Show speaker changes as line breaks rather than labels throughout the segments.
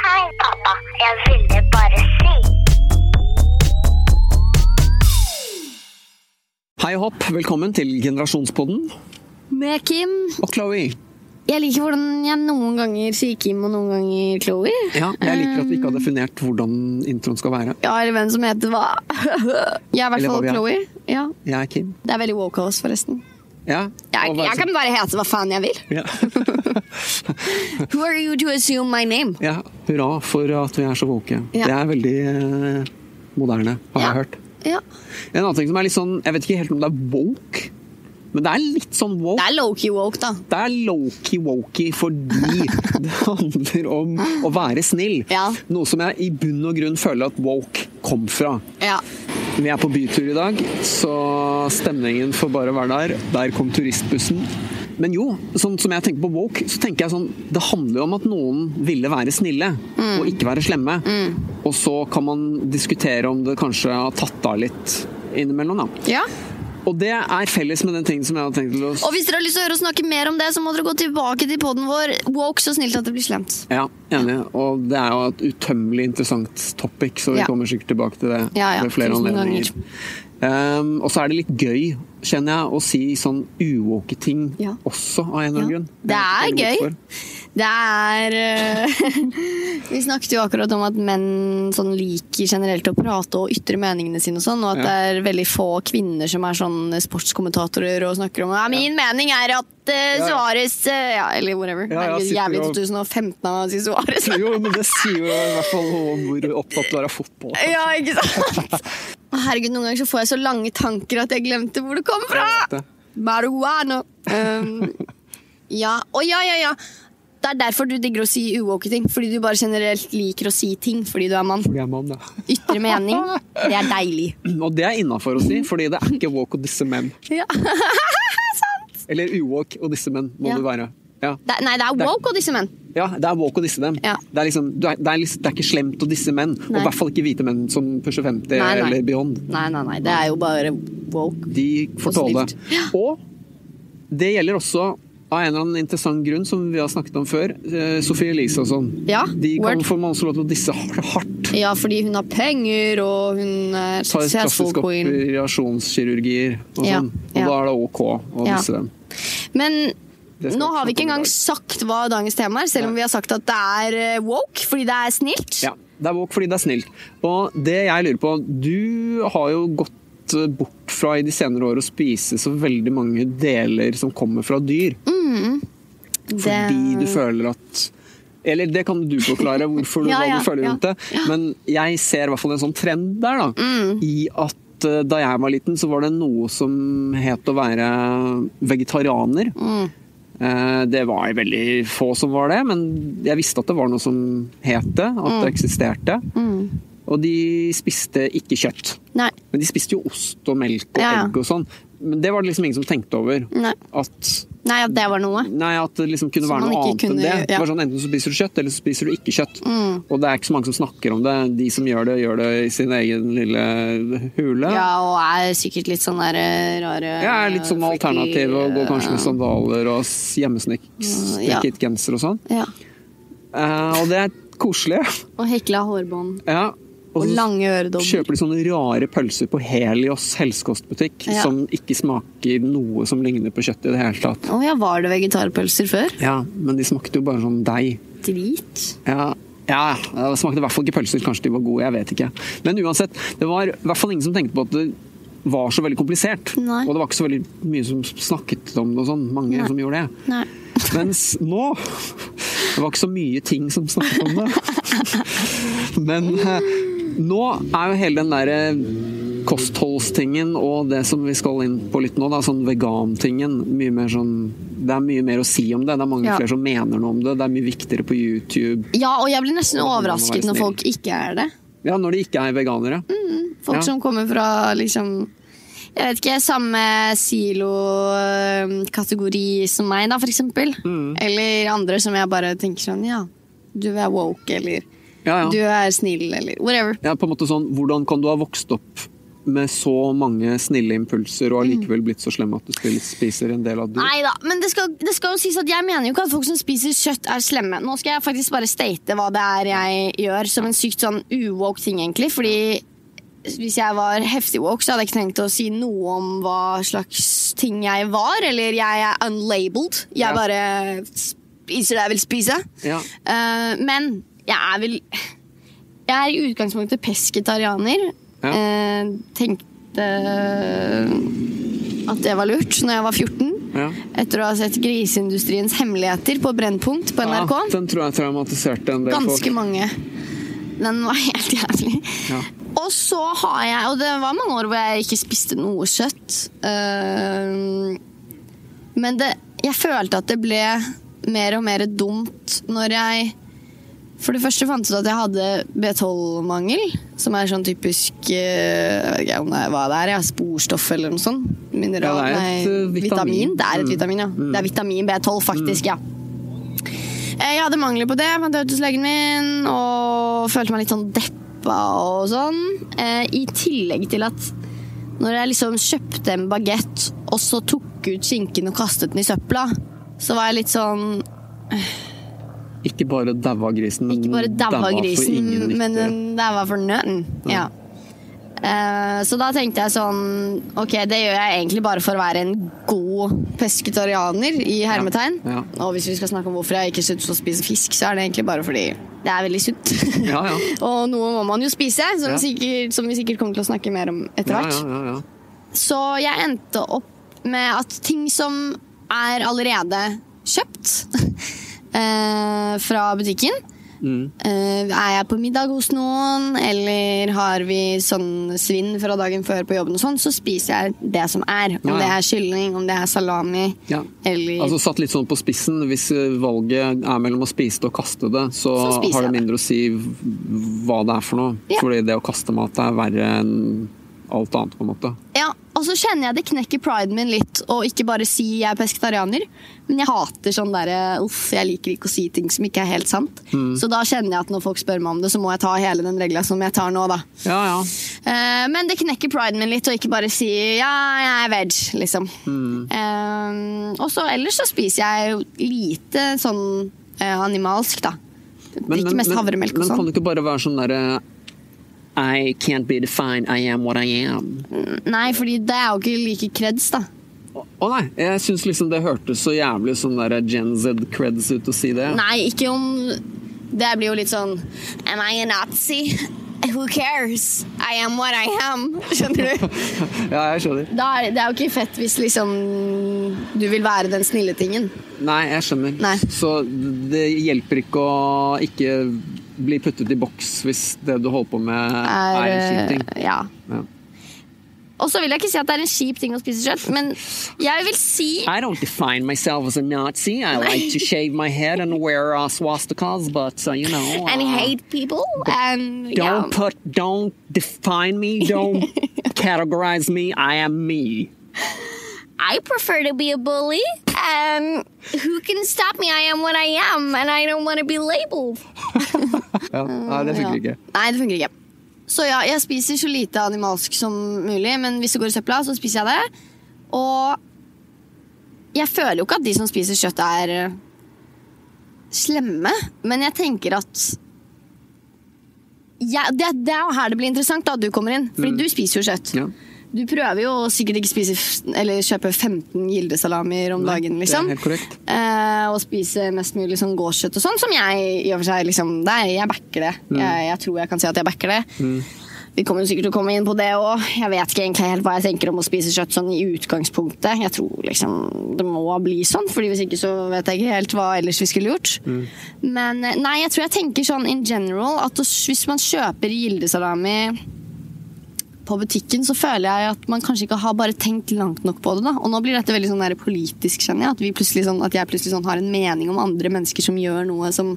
Nei, pappa. Jeg ville bare si.
Hei og hopp, velkommen til Generasjonspodden
Med Kim.
og Chloé.
Jeg liker hvordan jeg noen ganger sier Kim og noen ganger Chloé. Eh,
Ja, jeg liker at vi ikke har definert hvordan introen skal være.
Jeg har en venn som heter hva? Jeg er i hvert
Eller hva
fall
vi er.
Chloé. Ja.
Jeg er Kim.
Det er veldig woke av oss, forresten.
Ja,
Jeg,
og hva er
jeg kan bare hete hva faen jeg vil.
det som- Ja.
Who are you to assume my name?
ja, hurra for at vi er så våke.
Ja.
Det er veldig eh, moderne, har
Ja.
jeg hørt.
Ja.
En annen ting som er litt sånn, jeg vet ikke helt om det er woke, men det er litt sånn woke.
Det er low-key woke, da.
Det er low-key-wokey fordi det handler om å være snill.
Ja.
Noe som jeg i bunn og grunn føler at woke kom fra.
Ja.
Vi er på bytur i dag, så stemningen får bare være der. Der kom turistbussen. Men jo, sånn som jeg tenker på woke, så tenker jeg sånn Det handler jo om at noen ville være snille, og ikke være slemme. Og så kan man diskutere om det kanskje har tatt av litt innimellom, da.
ja.
Og det er felles med den tingen som jeg hadde tenkt til å
Og hvis dere har lyst til å høre oss snakke mer om det, så må dere gå tilbake til poden vår Woke så snilt at det blir slemt.
Ja, enig. Og det er jo et utømmelig interessant topic, så vi
Ja.
kommer sikkert tilbake til det
Ja, ja,
ved flere
tusen
anledninger. Um, og så er det litt gøy, kjenner jeg, å si sånn uwoke ting
Ja.
også, av en eller annen
Ja.
grunn.
Det
Jeg
er
vet ikke
gøy.
hvorfor.
Det er eh, Vi snakket jo akkurat om at menn sånn liker generelt å prate og ytre meningene sine og sånn, og at
Ja.
det er veldig få kvinner som er sånn sportskommentatorer og snakker om ja, 'min mening er at eh,
Ja, ja.
Suarez eh, ja, Eller whatever.
Ja, ja,
Herregud,
sitter
jævlig
og-
2015 av å si Suarez.
Jo, men det sier jo i hvert fall noe om hvor opptatt du er av fotball.
ja, ikke sant? Å, Herregud, noen ganger så får jeg så lange tanker at jeg glemte hvor det kom fra!
Jeg vet det.
Marihuana. Um, ja, og ja, ja, ja. Det er derfor du digger å si uwoke ting. Fordi du bare generelt liker å si ting fordi du er mann.
Fordi jeg er mann, ja.
Ytre mening. Det er deilig.
Og det er innafor å si, fordi det er ikke woke og disse menn.
Ja.
Eller uwoke og disse menn, må
Ja.
du være. Ja.
Det, er- nei, det er woke og disse menn.
Ja, det er woke å disse dem.
Ja.
Det, er liksom, du er, det, er liksom, det er ikke slemt å disse menn. Og
Nei.
i hvert fall ikke hvite menn som pusher 50
Nei, nei.
eller beyond.
Nei, nei, nei. Det er jo bare woke.
De får
Og
tåle.
snilt.
Og det gjelder også av en eller annen interessant grunn, som vi har snakket om før, eh, Sophie Elise og sånn.
Ja,
De kan
word.
få man også lov til å disse har- hardt.
Ja, fordi hun har penger, og hun eh, er
Ta et
successful
klassisk
queen.
operasjonskirurgier og
Ja,
sånn. Og
ja.
da er det ok å
Ja.
disse dem.
Men
Det skal
nå
vi snakke om
har vi ikke
i
engang
dag.
sagt hva dagens tema er, selv om
Nei.
vi har sagt at det er eh, woke fordi det er snilt.
Ja, det er woke fordi det er snilt. Og det jeg lurer på, du har jo gått eh, bort fra i de senere år å spise så veldig mange deler som kommer fra dyr,
Mm, Det-
fordi du føler at eller det kan du forklare, hvorfor du,
Ja,
hva
ja,
du føler
ja. Mm.
rundt det. Men jeg ser i hvert fall en sånn trend der, da. I at eh, da jeg var liten, så var det noe som het å være vegetarianer.
mm,
Eh, Det var veldig få som var det, men jeg visste at det var noe som het det, at
Mm.
det eksisterte. Og de spiste ikke kjøtt.
Nei.
Men de spiste jo ost og melk og
Ja, ja.
egg og sånn. Men det var det liksom ingen som tenkte over.
Nei.
At,
Nei, at det var noe.
nei, at det liksom kunne
Som
være
man
noe
ikke
annet enn
kunne-
det.
ja. Mm.
det var sånn, enten så spiser du kjøtt, eller så spiser du ikke kjøtt. Og det er ikke så mange som snakker om det. De som gjør det, gjør det i sin egen lille hule.
Ja, og er sikkert litt sånn der eh, rare
Jeg er litt sånn
freaky,
alternativ og går kanskje med
eh,
sandaler og s-
Mm, Ja.
hjemmesnekket genser og sånn.
Ja.
Eh, og det er koselig.
Og hekla hårbånd.
Ja.
Og
så
lange øredobber.
kjøper de sånne rare pølser på Helios helsekostbutikk
Ja.
som ikke smaker noe som ligner på kjøtt i det hele tatt.
Å ja, var det vegetarpølser før?
Ja, men de smakte jo bare sånn deig.
Drit.
Ja, ja, det smakte i hvert fall ikke pølser. Kanskje de var gode, jeg vet ikke. Men uansett, det var i hvert fall ingen som tenkte på at det var så veldig komplisert.
Nei.
Og det var ikke så veldig mye som snakket om det og sånn. Mange
Nei.
som gjorde det.
Nei.
Mens nå Det var ikke så mye ting som snakket om det. Men eh, nå er jo hele den derre kostholdstingen og det som vi skal inn på litt nå, da, sånn vegantingen mye mer sånn, Det er mye mer å si om det. Det er mange
Ja.
flere som mener noe om det. Det er mye viktigere på YouTube.
Ja, og jeg blir nesten
Nå må man være
overrasket når
snill.
folk ikke er det.
Ja, når de ikke er veganere.
Folk
Ja.
som kommer fra liksom jeg vet ikke, samme silokategori som meg, da, for eksempel.
Mm.
Eller andre som jeg bare tenker sånn Ja, du er woke, eller
Ja,
du
ja.
er snill, eller whatever.
ja, på en måte sånn Hvordan kan du ha vokst opp med så mange snille impulser og allikevel blitt så slem at du spil- spiser en del av dyr.
Nei da, men det skal, det skal jo sies at jeg mener jo ikke at folk som spiser kjøtt, er slemme. Nå skal jeg faktisk bare state hva det er jeg gjør, som en sykt sånn uwoke ting, egentlig. Fordi hvis jeg var heftig woke, så hadde jeg ikke trengt å si noe om hva slags ting jeg var. Eller jeg er unlabeled. Jeg
Ja.
bare spiser det jeg vil spise.
Ja.
Eh, men jeg er vel Jeg er i utgangspunktet pesketarianer.
Ja.
Eh, tenkte at det var lurt når jeg var 14.
Ja.
Etter å ha sett Griseindustriens hemmeligheter på Brennpunkt på NRK.
Ja, den tror jeg traumatiserte en del
Ganske
folk.
mange. Den var helt jævlig.
Ja.
Og så har jeg Og det var mange år hvor jeg ikke spiste noe kjøtt. Eh, men det, jeg følte at det ble mer og mer dumt når jeg For det første fant ut at jeg hadde B12-mangel, som er sånn typisk eh, Jeg vet ikke om det er, hva det er, ja, sporstoff eller noe sånt. Mineral,
Ja, det er et,
nei,
eh, vitamin.
Det er
Mm.
et vitamin, ja. Det er vitamin B12, faktisk, ja. Eh, Jeg hadde mangler på det, fant jeg ut hos legen min, og følte meg litt sånn deppa og sånn. Eh, I tillegg til at når jeg liksom kjøpte en bagett og så tok ut skinken og kastet den i søpla, så var jeg litt sånn
Ikke bare daua grisen, men
Ikke bare daua
Mm, for
grisen,
ingen nytte.
men den daua for nøtten. Ja. Eh, så da tenkte jeg sånn Ok, det gjør jeg egentlig bare for å være en god pesketarianer, i hermetegn.
Ja.
Og hvis vi skal snakke om hvorfor jeg ikke syns å spise fisk, så er det egentlig bare fordi det er veldig sunt.
Ja, ja.
Og noe må man jo spise, som,
Ja.
vi sikkert, som vi sikkert kommer til å snakke mer om etter
ja,
hvert.
ja, ja, ja.
Så jeg endte opp med at ting som er allerede kjøpt eh, fra butikken
Mm.
eh, Er jeg på middag hos noen, eller har vi sånn svinn fra dagen før på jobben, og sånn, så spiser jeg det som er. Om
Ja, ja.
det er kylling, om det er salami
Ja.
eller
Altså Satt litt sånn på spissen, hvis eh, valget er mellom å spise det og kaste det, så,
Så
har
spiser
det
jeg det.
mindre å si v- hva det er for noe.
Ja.
Fordi det å kaste mat er verre enn alt annet, på en måte.
Ja, og så kjenner jeg det knekker priden min litt å ikke bare si jeg er pesketarianer, men jeg hater sånn derre uff, jeg liker ikke å si ting som ikke er helt sant.
Mm.
Så da kjenner jeg at når folk spør meg om det, så må jeg ta hele den regla som jeg tar nå, da.
Ja, ja.
Eh, men det knekker priden min litt å ikke bare si ja, jeg er veg, liksom.
Mm.
Eh, og så ellers så spiser jeg jo lite sånn eh, animalsk, da. Drikker mest havremelk og
men kan
sånn.
det ikke bare være sånn derre I can't be defined, I am what I am.
Mm, Nei, fordi det er jo ikke like kreds, da.
Å å nei, jeg syns liksom det hørtes så jævlig sånn der Gen Z-creds ut å si det.
Nei, ikke om Det blir jo litt sånn Am I a Nazi? Who cares? I am what I am. Skjønner du?
Ja, jeg skjønner.
Da er, det- det er jo ikke fett hvis liksom du vil være den snille tingen.
Nei, jeg skjønner.
Nei.
Så det hjelper ikke å ikke bli puttet i boks hvis det du holder på med er,
Er,
en kjip ting.
eh, ja.
Ja.
Og så vil jeg ikke si at det er en kjip ting å spise kjøtt, men jeg vil si
I don't define myself as a Nazi. I like to shave my head and wear uh, swastikas, but uh, you know.
And
uh,
hate people. And, ja.
Don't put, don't define me, don't categorize me. I am me.
I prefer to be a bully. And who can stop me? I am what I am, and I don't want to be labeled.
Ja,
Mm,
nei, det funker ikke.
Nei, det funker ikke. Så ja, jeg spiser så lite animalsk som mulig, men hvis det går i søpla, så spiser jeg det. Og jeg føler jo ikke at de som spiser kjøtt, er eh, slemme, men jeg tenker at jeg, det, det er jo her det blir interessant, da, at du kommer inn. Fordi du spiser jo kjøtt.
Mm. Ja.
Du prøver jo å sikkert ikke spise f- eller kjøpe 15 gildesalamer om dagen,
det er
liksom.
helt korrekt.
Eh, og spise mest mulig sånn gårdskjøtt og sånn, som jeg i og for seg liksom det er- Jeg backer det.
Mm.
Jeg, jeg tror jeg kan si at jeg backer det. Vi kommer jo sikkert til å komme inn på det òg. Jeg vet ikke egentlig helt hva jeg tenker om å spise kjøtt sånn i utgangspunktet. Jeg tror liksom det må bli sånn, Fordi hvis ikke så vet jeg ikke helt hva ellers vi skulle gjort.
Mm.
Men eh, nei, jeg tror jeg tenker sånn in general at å- hvis man kjøper gildesalami på butikken så føler jeg at man kanskje ikke har bare tenkt langt nok på det. da. Og nå blir dette veldig sånn der politisk, skjønner jeg. At, vi plutselig sånn, at jeg plutselig sånn har en mening om andre mennesker som gjør noe som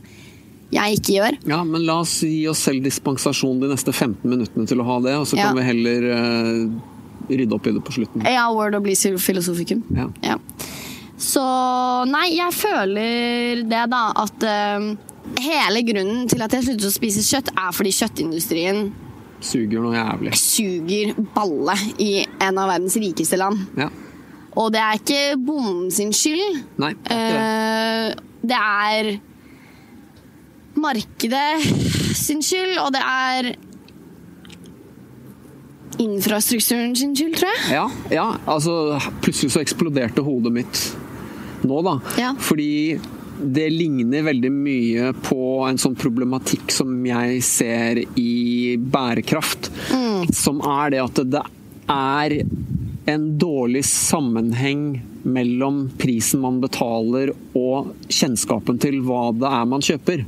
jeg ikke gjør.
Ja, men la oss gi oss selv dispensasjon de neste 15 minuttene til å ha det, og så
Ja.
kan vi heller eh, rydde opp i det på slutten.
Ja, word og bli filosofikum.
Ja.
Ja. Så nei, jeg føler det, da, at eh, hele grunnen til at jeg sluttet å spise kjøtt, er fordi kjøttindustrien
Suger noe jævlig.
suger balle i en av verdens rikeste land.
Ja.
Og det er ikke bonden sin skyld.
Nei, det er ikke det.
Eh, det er markedet sin skyld, og det er infrastrukturen sin skyld, tror jeg.
Ja, ja, altså plutselig så eksploderte hodet mitt nå, da.
Ja.
Fordi det ligner veldig mye på en sånn problematikk som jeg ser i bærekraft. Som er det at det er en dårlig sammenheng mellom prisen man betaler og kjennskapen til hva det er man kjøper.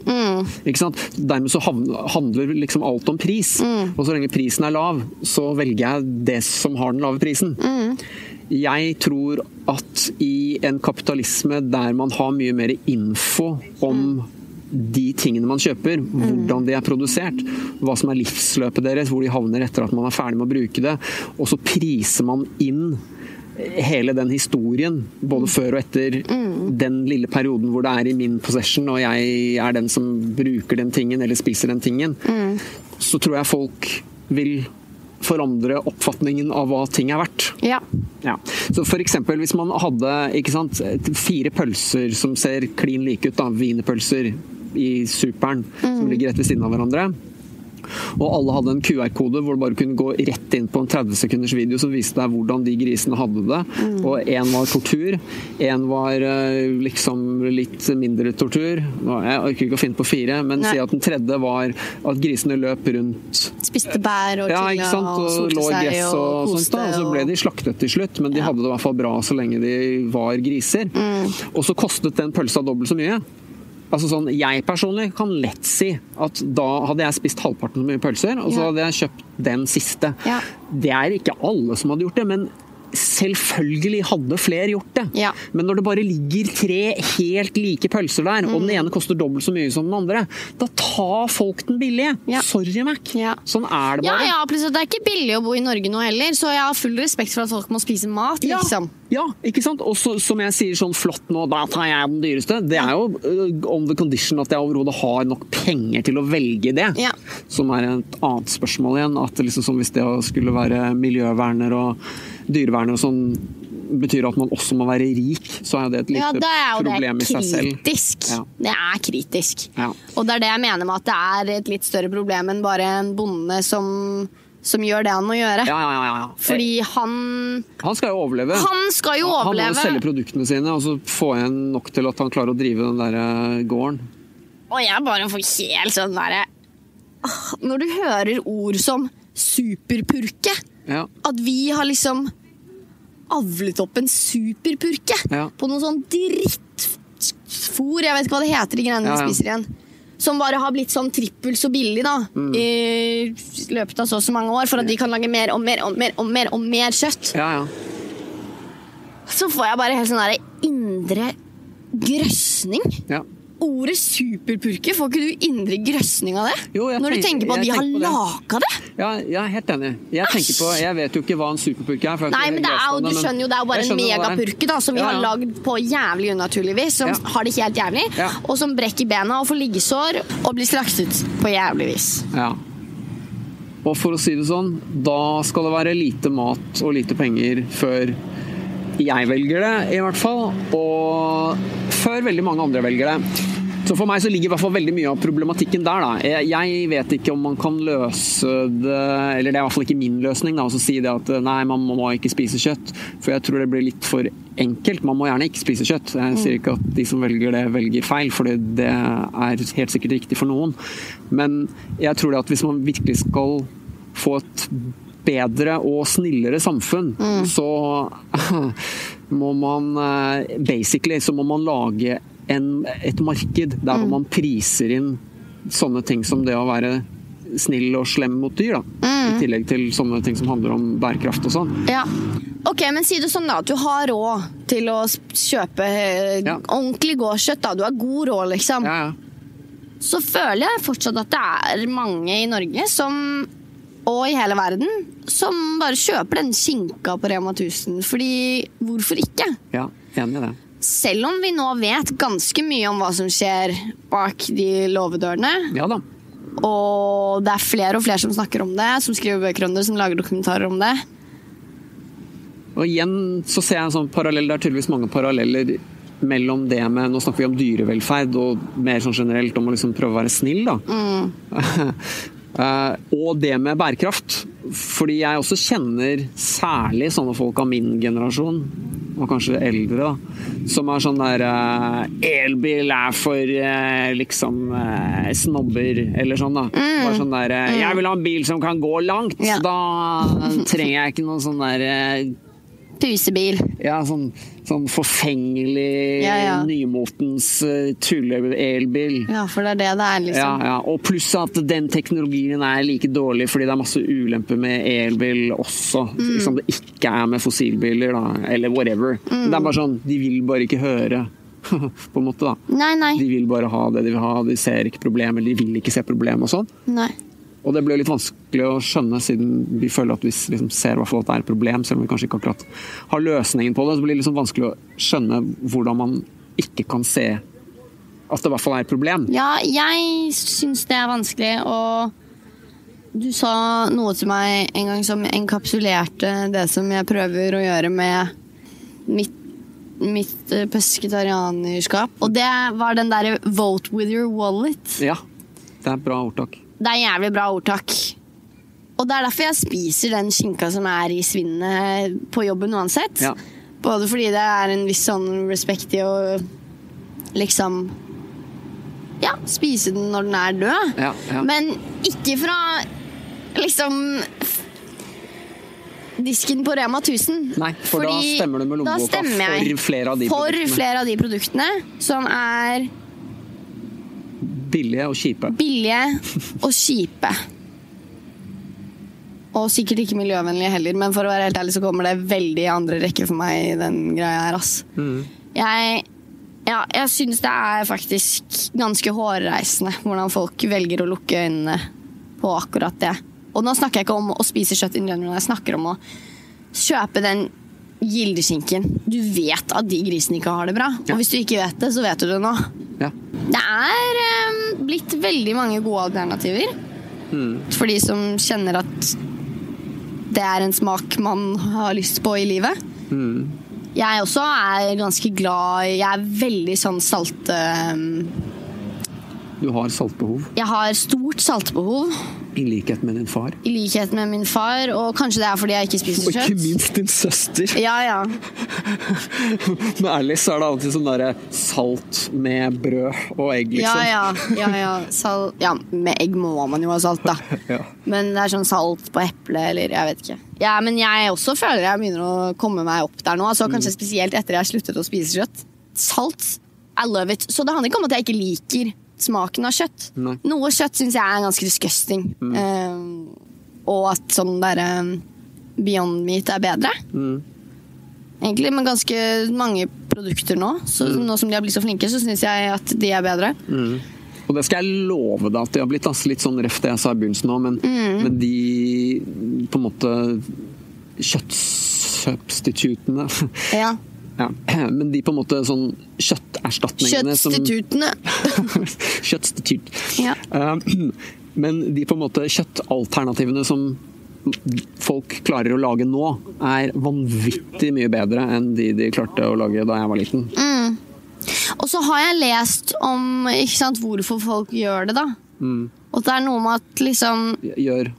Ikke sant? Dermed så havn- handler liksom alt om pris. Og så lenge prisen er lav, så velger jeg det som har den lave prisen. Jeg tror at i en kapitalisme der man har mye mer info om de tingene man kjøper, hvordan de er produsert, hva som er livsløpet deres, hvor de havner etter at man er ferdig med å bruke det, og så priser man inn hele den historien, både før og etter den lille perioden hvor det er i min possession og jeg er den som bruker den tingen eller spiser den tingen, så tror jeg folk vil forandre oppfatningen av hva ting er verdt.
Ja.
Ja. Så for eksempel hvis man hadde ikke sant, fire pølser som ser klin like ut, da, wienerpølser i superen som ligger rett ved siden av hverandre. Og alle hadde en QR-kode hvor du bare kunne gå rett inn på en 30 sekunders video som viste deg hvordan de grisene hadde det. Og én var tortur, én var eh, liksom litt mindre tortur. Nå, Jeg orker ikke å finne på fire, men
Nei.
si at den tredje var at grisene løp rundt
Spiste bær og
ja,
chilla
ikke sant?
og
Og
solte
lå i
seg
gress og
og
sånt.
koste.
da, Og så ble de slaktet til slutt, men de
Ja.
hadde det i hvert fall bra så lenge de var griser.
Mm.
Og så kostet den pølsa dobbelt så mye. Altså sånn, Jeg personlig kan lett si at da hadde jeg spist halvparten så mye pølser, og så
Ja.
hadde jeg kjøpt den siste.
Ja.
Det er ikke alle som hadde gjort det, men selvfølgelig hadde flere gjort det.
Ja.
Men når det bare ligger tre helt like pølser der, og den
Mm.
ene koster dobbelt så mye som den andre, da tar folk den billige.
Ja.
Sorry, Mac.
Ja.
Sånn er det
Ja,
bare.
ja, pluss at det er ikke billig å bo i Norge nå heller, så jeg har full respekt for at folk må spise mat,
Ja,
liksom.
ja, ikke sant? Og så, som jeg sier sånn flott nå, da tar jeg den dyreste. Det er jo øh, on the condition at jeg overhodet har nok penger til å velge det.
Ja.
Som er et annet spørsmål igjen. At det liksom som hvis det å skulle være miljøverner og dyreverner og sånn betyr at man også må være rik, så er jo det et
Ja,
lite
det er jo det
problem i seg selv.
kritisk.
Ja.
Det er kritisk.
Ja.
Og det er det jeg mener med at det er et litt større problem enn bare en bonde som, som gjør det han må gjøre.
Ja, ja, ja, ja.
Fordi han
Han skal jo overleve.
Han skal jo
Han må jo selge
overleve!
produktene sine og så få igjen nok til at han klarer å drive den der øh, gården.
Og jeg bare får helt sånn derre Ah, Når du hører ord som superpurke,
Ja.
at vi har liksom avlet opp en superpurke
Ja.
på noe sånn drittfôr, jeg vet ikke hva det heter, de greiene
Ja, ja.
vi spiser igjen. Som bare har blitt sånn trippel så billig da,
Mm.
i løpet av så og så mange år, for at de kan lage mer og mer og mer og mer, og mer kjøtt.
ja, ja.
Så får jeg bare helt sånn der indre grøsning.
ja.
Ordet superpurke, får ikke du indre grøsning av det?
Jo, jeg
Når du
tenker-
tenker på at
jeg
vi har
tenker på det.
laga det?
Ja, jeg er helt enig. Jeg tenker på, jeg vet jo ikke hva en superpurke er. for jeg har
Nei,
ikke
men det er
lest
jo,
om
du
men
skjønner jo, det er jo bare
jeg
en
skjønner hva det er.
megapurke da, som vi
Ja,
har
ja.
lagd på jævlig unaturlig vis, som
Ja.
har det helt jævlig,
Ja.
og som brekker bena og får liggesår og blir slaktet på jævlig vis.
Ja. Og for å si det sånn, da skal det være lite mat og lite penger før jeg velger det, i hvert fall. Og før veldig mange andre velger det. Så for meg så ligger i hvert fall veldig mye av problematikken der. Da. Jeg- Jeg vet ikke om man kan løse det Eller det er i hvert fall ikke min løsning da, å si det at nei, man må ikke spise kjøtt. For jeg tror det blir litt for enkelt. Man må gjerne ikke spise kjøtt. Jeg sier ikke at de som velger det, velger feil, for det er helt sikkert riktig for noen. Men jeg tror det at hvis man virkelig skal få et bedre og snillere samfunn, så må man eh, basically så må man lage en, et marked der hvor man priser inn sånne ting som det å være snill og slem mot dyr, da. I tillegg til sånne ting som handler om bærekraft og sånn.
Ja. Ok, men si det sånn da, at du har råd til å s- kjøpe eh,
Ja.
ordentlig gårdskjøtt da, du har god råd liksom,
Ja, ja.
så føler jeg fortsatt at det er mange i Norge som og i hele verden, som bare kjøper den skinka på Rema 1000. Fordi, hvorfor ikke?
ja, enig i det.
selv om vi nå vet ganske mye om hva som skjer bak de låvedørene,
Ja da.
Og det er flere og flere som snakker om det, som skriver bøker om det, som lager dokumentarer om det.
Og igjen så ser jeg en sånn parallell, det er tydeligvis mange paralleller mellom det med Nå snakker vi om dyrevelferd og mer sånn generelt om å liksom prøve å være snill, da.
mm,
Eh, og det med bærekraft. Fordi jeg også kjenner særlig sånne folk av min generasjon, og kanskje eldre, da, som er sånn der eh, Elbil er for eh, liksom eh, snobber, eller sånn, da. Bare sånn der eh, Jeg vil ha en bil som kan gå langt!
Mm. Ja.
Da eh, trenger jeg ikke noe sånn der eh,
Pusebil.
ja, sånn, sånn forfengelig,
Ja, ja.
nymotens eh, tulle-elbil.
Ja, for det er det det er,
Ja,
liksom.
ja. Og pluss at den teknologien er like dårlig fordi det er masse ulemper med elbil også. Som det ikke er med fossilbiler, da, eller whatever. Det er bare sånn, de vil bare ikke høre, på en måte. da.
Nei, nei.
De vil bare ha det de vil ha, de ser ikke problemer, de vil ikke se problemer og sånn.
nei.
Og det ble litt vanskelig å skjønne, siden vi føler at vi liksom ser i hvert fall at det er et problem, selv om vi kanskje ikke akkurat har løsningen på det. Så blir det liksom vanskelig å skjønne hvordan man ikke kan se at det i hvert fall er et problem.
Ja, jeg syns det er vanskelig, og du sa noe til meg en gang som enkapsulerte det som jeg prøver å gjøre med mitt, mitt eh, pesketarianerskap. Og det var den derre 'vote with your wallet'.
Ja, det er et bra ordtak.
Det er jævlig bra ordtak. Og det er derfor jeg spiser den skinka som er i svinnet på jobben uansett.
Ja.
Både fordi det er en viss sånn respekt i å liksom Ja, spise den når den er død.
Ja, ja.
Men ikke fra liksom f- disken på Rema 1000.
Nei, for da
Fordi
stemmer du med
da
lommeboka
stemmer jeg
for flere av de
for
produktene.
flere av de produktene som er
Billige og kjipe.
billige og kjipe. Og sikkert ikke miljøvennlige heller, men for å være helt ærlig så kommer det veldig i andre rekke for meg i den greia her, ass. Jeg, ja, jeg syns det er faktisk ganske hårreisende hvordan folk velger å lukke øynene på akkurat det. Og nå snakker jeg ikke om å spise kjøtt in general, jeg snakker om å kjøpe den gildeskinken. Du vet at de grisene ikke har det bra.
Ja.
Og hvis du ikke vet det, så vet du det nå.
Ja.
Det er eh, blitt veldig mange gode alternativer.
Hmm.
For de som kjenner at det er en smak man har lyst på i livet.
Hmm.
Jeg også er ganske glad Jeg er veldig sånn salte ehm,
Du har saltbehov,
Jeg har stort saltbehov,
i likhet med din far.
i likhet med min far. Og kanskje det er fordi jeg ikke
Og
spiser
ikke
kjøtt.
minst din søster.
Ja, ja.
Med Alice er det alltid sånn derre salt med brød og egg,
Ja,
liksom.
ja. ja, ja. Sal ja, med egg må man jo ha salt, da.
Ja.
Men det er sånn salt på eple, eller jeg vet ikke. Ja, men jeg også føler jeg begynner å komme meg opp der nå. Altså, kanskje
Mm.
spesielt etter jeg sluttet å spise kjøtt. Salt, I love it. Så det handler ikke om at jeg ikke liker smaken av kjøtt.
Nei. Mm.
Noe kjøtt syns jeg er ganske disgusting. Eh, og at sånn derre Beyond meat er bedre.
Mm.
Egentlig, men ganske mange produkter nå. Så
Mm.
nå som de har blitt så flinke, så syns jeg at de er bedre.
Og det skal jeg love deg at det har blitt altså, litt sånn røft det jeg sa i begynnelsen òg, men,
Mm.
men de på en måte kjøttsubstitutene
Ja.
ja. Men de på en måte sånn kjøtterstatningene som
Kjøttstitutene.
Kjøttstitut.
Ja.
Eh, Men de på en måte kjøttalternativene som folk klarer å lage nå, er vanvittig mye bedre enn de de klarte å lage da jeg var liten.
Mm. Og så har jeg lest om ikke sant, hvorfor folk gjør det, da. Og det er noe med at liksom
Gjør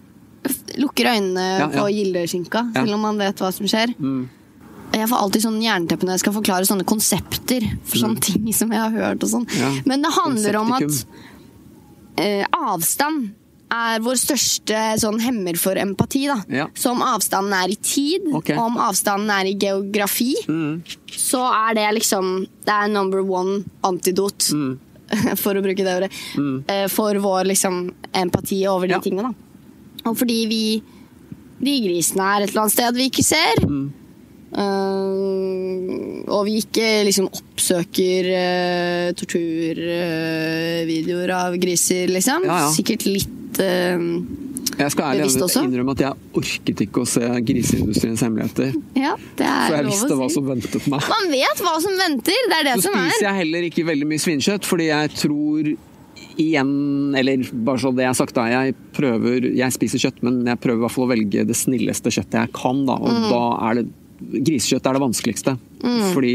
f- lukker øynene
Ja, ja.
på gildeskinka,
Ja. Mm.
selv om man vet hva som skjer. Jeg får alltid sånn jernteppe når jeg skal forklare sånne konsepter for sånne ting som jeg har hørt og sånn.
Mm. Ja,
Men det handler om at
konseptikum.
eh, avstand er vår største sånn hemmer for empati, da.
Ja.
Så om avstanden er i tid,
Ok. Mm.
og om avstanden er i geografi, så er det liksom Det er number one antidot,
Mm.
for å bruke det ordet, eh, for vår liksom empati over de
Ja.
tingene. da. Og fordi vi De grisene er et eller annet sted vi ikke ser.
Mm.
eh, og vi ikke liksom oppsøker eh, torturvideoer av griser, liksom.
Ja, ja.
Sikkert litt eh,
Jeg skal ærlig
Bevisst også?
innrømme at jeg orket ikke å se griseindustriens hemmeligheter.
Ja, det er
For jeg
lov
visste
å
hva
si.
som ventet meg.
Man vet hva som venter! Det er det
Så
som sånn er.
spiser jeg heller ikke veldig mye svinekjøtt, fordi jeg tror igjen, eller bare så det er sagt, da, jeg prøver Jeg spiser kjøtt, men jeg prøver i hvert fall å velge det snilleste kjøttet jeg kan, da. Og
Mm.
da er det Grisekjøtt er det vanskeligste. Fordi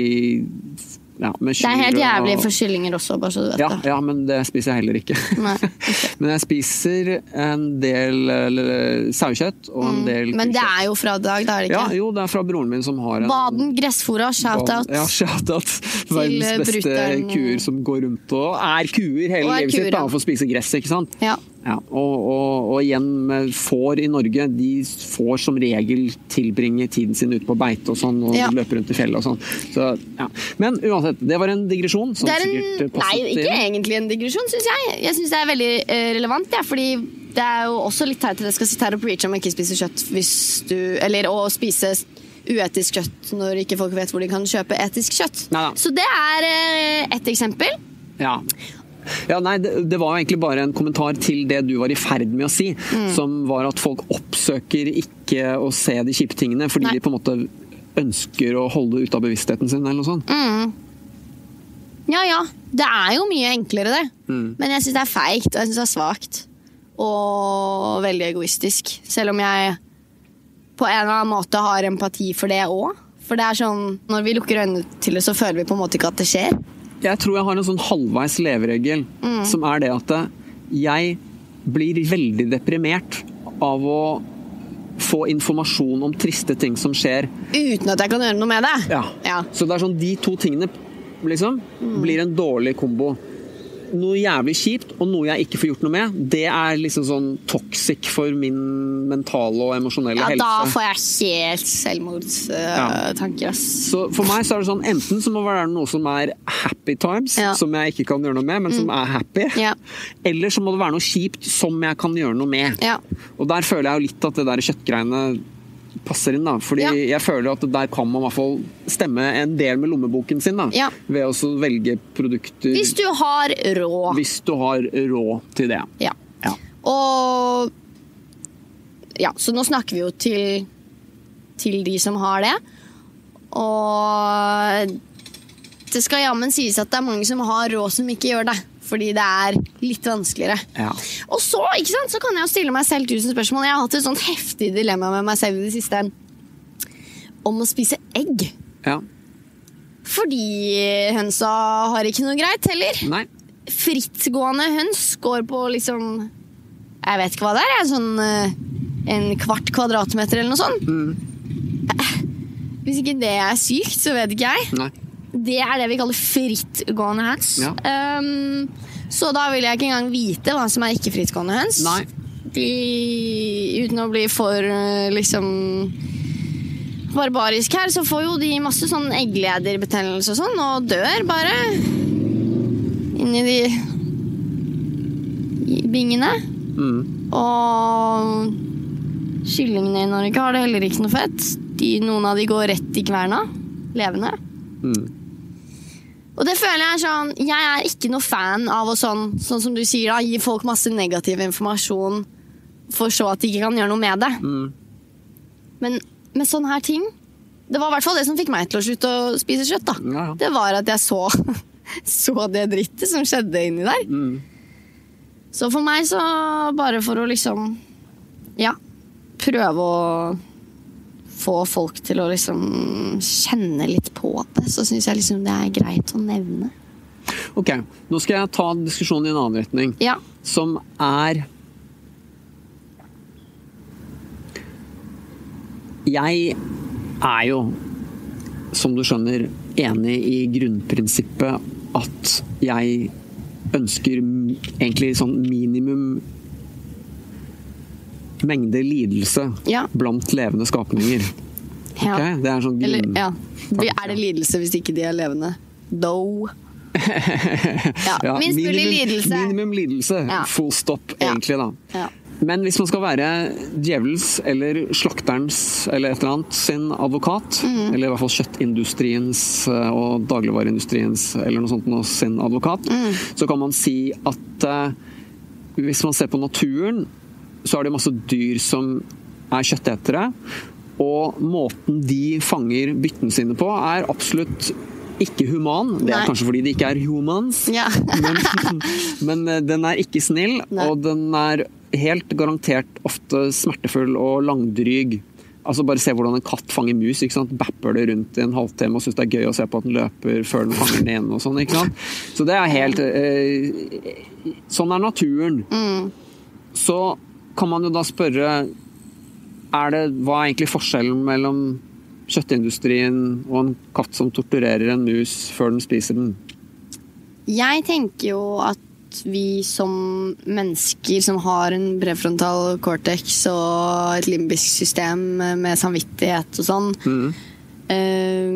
ja, med
Det er helt
kyr og-
jævlig for kyllinger også, bare så du vet
ja,
det.
ja, men det spiser jeg heller ikke.
Nei, ok.
men jeg spiser en del eh, sauekjøtt og en del
Mm. Men det
kukkjøtt.
er jo fra dag, da er det
ja,
ikke?
Jo, det er fra broren min som har en
Baden gressfora, shout-out.
Ja, shout-out.
eh,
Verdens beste
brutter'n.
kuer som går rundt og er kuer hele
Og er
livet sitt
kuer,
da,
ja.
og får spise gress, ikke sant.
Ja.
Ja, og, og, og igjen med får i Norge, de får som regel tilbringe tiden sin ute på beite og sånn, og
Ja.
løpe rundt i fjellet og sånn. Så, ja. Men uansett, det var en digresjon. Som
Det er en,
sikkert eh,
nei,
passet til.
ikke egentlig en digresjon, syns jeg. Jeg syns det er veldig eh, relevant, ja, fordi det er jo også litt teit at jeg skal sitte her og preache om å ikke spise kjøtt hvis du Eller å spise uetisk kjøtt når ikke folk vet hvor de kan kjøpe etisk kjøtt.
Neida.
Så det er uh, ett eksempel.
Ja. Ja, nei, det, det var egentlig bare en kommentar til det du var i ferd med å si. Som var at folk oppsøker ikke å se de kjipe tingene fordi
Nei.
de på en måte ønsker å holde det ute av bevisstheten sin. eller noe sånt.
Mm. Ja ja, det er jo mye enklere, det.
Mm.
Men jeg syns det er feigt, og jeg syns det er svakt. Og veldig egoistisk. Selv om jeg på en eller annen måte har empati for det òg. For det er sånn, når vi lukker øynene til det, så føler vi på en måte ikke at det skjer.
Jeg tror jeg har en sånn halvveis leveregel som er det at eh, jeg blir veldig deprimert av å få informasjon om triste ting som skjer.
Uten at jeg kan gjøre noe med det.
Ja. Så det er sånn de to tingene liksom, blir en dårlig kombo. Noe jævlig kjipt og noe jeg ikke får gjort noe med, det er liksom sånn toxic for min mentale og emosjonelle
Ja, da
helse.
får jeg helt selvmordstanker, ass.
Så for meg så er det sånn enten så må det være noe som er happy times,
Ja. Mm.
som jeg ikke kan gjøre noe med, men som er happy.
Ja.
Eller så må det være noe kjipt som jeg kan gjøre noe med.
Ja.
Og der føler jeg jo litt at det der kjøttgreiene passer inn, da. Fordi
Ja.
jeg føler at der kan man i hvert fall stemme en del med lommeboken sin, da.
Ja.
Ved også å velge produkter
Hvis du har råd.
hvis du har råd til det.
Ja.
Ja.
Og Ja, så nå snakker vi jo til, til de som har det. Og det skal jammen sies at det er mange som har råd som ikke gjør det. Fordi det er litt vanskeligere.
Ja.
Og så, ikke sant, så kan jeg jo stille meg selv tusen spørsmål. Jeg har hatt et sånt heftig dilemma med meg selv i det siste. Om å spise egg.
ja.
Fordi hønsa har ikke noe greit heller
Nei.
frittgående høns går på liksom Jeg vet ikke hva det er. jeg, Sånn eh, en kvart kvadratmeter eller noe sånt. Eh, Hvis ikke det er sykt, så vet ikke jeg.
Mm. Nei.
Det er det vi kaller frittgående høns.
Ja.
Ehm, så da vil jeg ikke engang vite hva som er ikke frittgående høns.
Nei.
De, uten å bli for eh, liksom barbarisk her, så får jo de masse sånn egglederbetennelse og sånn, og dør bare inni de i bingene.
Mm.
Og kyllingene i Norge har det heller ikke noe fett. De, noen av de går rett i kverna, levende.
Mm.
Og det føler jeg er sånn Jeg er ikke noe fan av å sånn, sånn som du sier da, gi folk masse negativ informasjon for så at de ikke kan gjøre noe med det.
Mm.
Men med sånne her ting Det var i hvert fall det som fikk meg til å slutte å spise kjøtt, da.
Ja, ja.
Det var at jeg så, så det drittet som skjedde inni der.
Mm.
Så for meg så bare for å liksom Ja. Prøve å få folk til å liksom kjenne litt på det. Så syns jeg liksom det er greit å nevne.
Ok, nå skal jeg ta diskusjonen i en annen retning.
Ja.
som er Jeg er jo, som du skjønner, enig i grunnprinsippet at jeg ønsker m- egentlig sånn minimum mengde lidelse
Ja.
blant levende skapninger.
ja.
Ok? Det er sånn
Eller,
grunn...
ja. Er det lidelse hvis ikke de er levende? Do. Ja, minst mulig lidelse.
Minimum lidelse.
Ja.
Full stop,
Ja.
egentlig, da.
Ja.
Men hvis man skal være djevelens eller slakterens eller et eller annet sin advokat,
Mhm.
eller i hvert fall kjøttindustriens eh, og dagligvareindustriens eller noe sånt nå, sin advokat,
Mhm.
så kan man si at eh, hvis man ser på naturen, så er det masse dyr som er kjøttetere. Og måten de fanger byttene sine på, er absolutt ikke human. Det er
Nei.
kanskje fordi det ikke er humans.
Ja.
Men, men eh, den er ikke snill,
Nei.
og den er helt garantert ofte smertefull og langdryg. Altså Bare se hvordan en katt fanger mus. ikke sant? Bapper det rundt i en halvtime og syns det er gøy å se på at den løper før den fanger den igjen. og sånn, ikke sant? Så det er helt eh, Sånn er naturen.
Mm.
Så kan man jo da spørre er det, Hva er egentlig forskjellen mellom kjøttindustrien og en katt som torturerer en mus før den spiser den?
Jeg tenker jo at vi som mennesker som har en prefrontal cortex og et limbisk system med samvittighet og sånn, eh,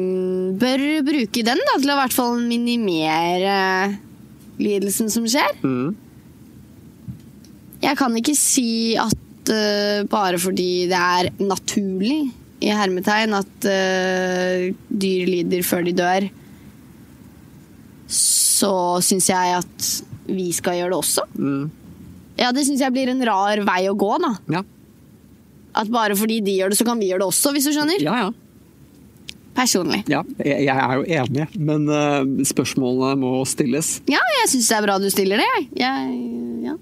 bør bruke den da, til å i hvert fall minimere lidelsen som skjer.
Mhm.
Jeg kan ikke si at eh, bare fordi det er naturlig i hermetegn at eh, dyr lider før de dør, så syns jeg at vi skal gjøre det også.
Mm.
Ja, Det syns jeg blir en rar vei å gå. da.
Ja.
At bare fordi de gjør det, så kan vi gjøre det også, hvis du skjønner.
ja, ja.
Personlig.
Ja, jeg, jeg er jo enig, men eh, spørsmålene må stilles.
Ja, jeg syns det er bra du stiller det, jeg. Jeg, ja.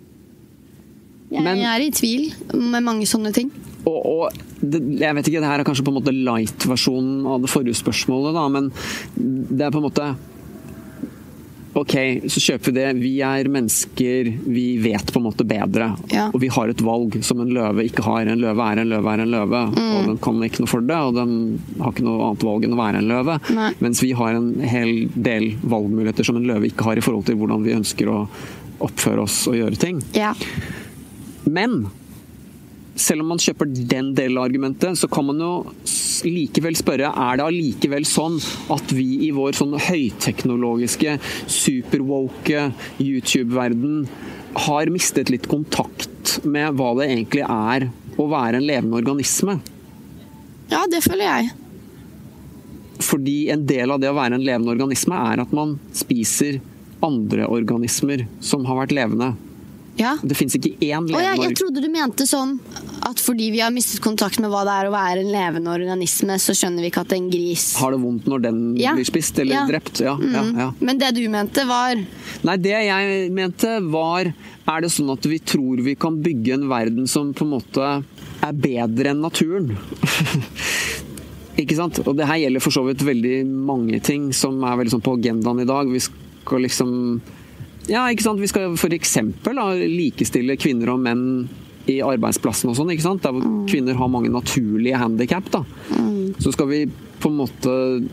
jeg,
Men-
jeg er i tvil med mange sånne ting.
Og, og det, jeg vet ikke, det her er kanskje på en måte light-versjonen av det forrige spørsmålet, da, men det er på en måte Ok, så kjøper vi det. Vi er mennesker, vi vet på en måte bedre.
Ja.
Og vi har et valg som en løve ikke har. En løve er en løve er en løve,
Mm.
og den kan ikke noe for det. Og den har ikke noe annet valg enn å være en løve.
Nei.
Mens vi har en hel del valgmuligheter som en løve ikke har i forhold til hvordan vi ønsker å oppføre oss og gjøre ting.
Ja.
Men selv om man kjøper den delen av argumentet, så kan man jo s- likevel spørre er det allikevel sånn at vi i vår sånn høyteknologiske, superwoke YouTube-verden har mistet litt kontakt med hva det egentlig er å være en levende organisme?
ja, det føler jeg.
Fordi en del av det å være en levende organisme er at man spiser andre organismer som har vært levende.
Ja.
Det fins ikke én
Å, jeg,
levende
jeg trodde du mente sånn at fordi vi har mistet kontakt med hva det er å være en levende organisme, så skjønner vi ikke at det er en gris.
har det vondt når den
Ja.
blir spist eller
Ja.
drept. Ja, ja,
Mm.
ja.
Men det du mente, var
Nei, det jeg mente var Er det sånn at vi tror vi kan bygge en verden som på en måte er bedre enn naturen? Ikke sant? Og det her gjelder for så vidt veldig mange ting som er veldig sånn på agendaen i dag. Vi skal liksom Ja, ikke sant. Vi skal f.eks. likestille kvinner og menn i arbeidsplassen og sånn, ikke sant. Der hvor
Mm.
kvinner har mange naturlige handikap, da. Så skal vi på en måte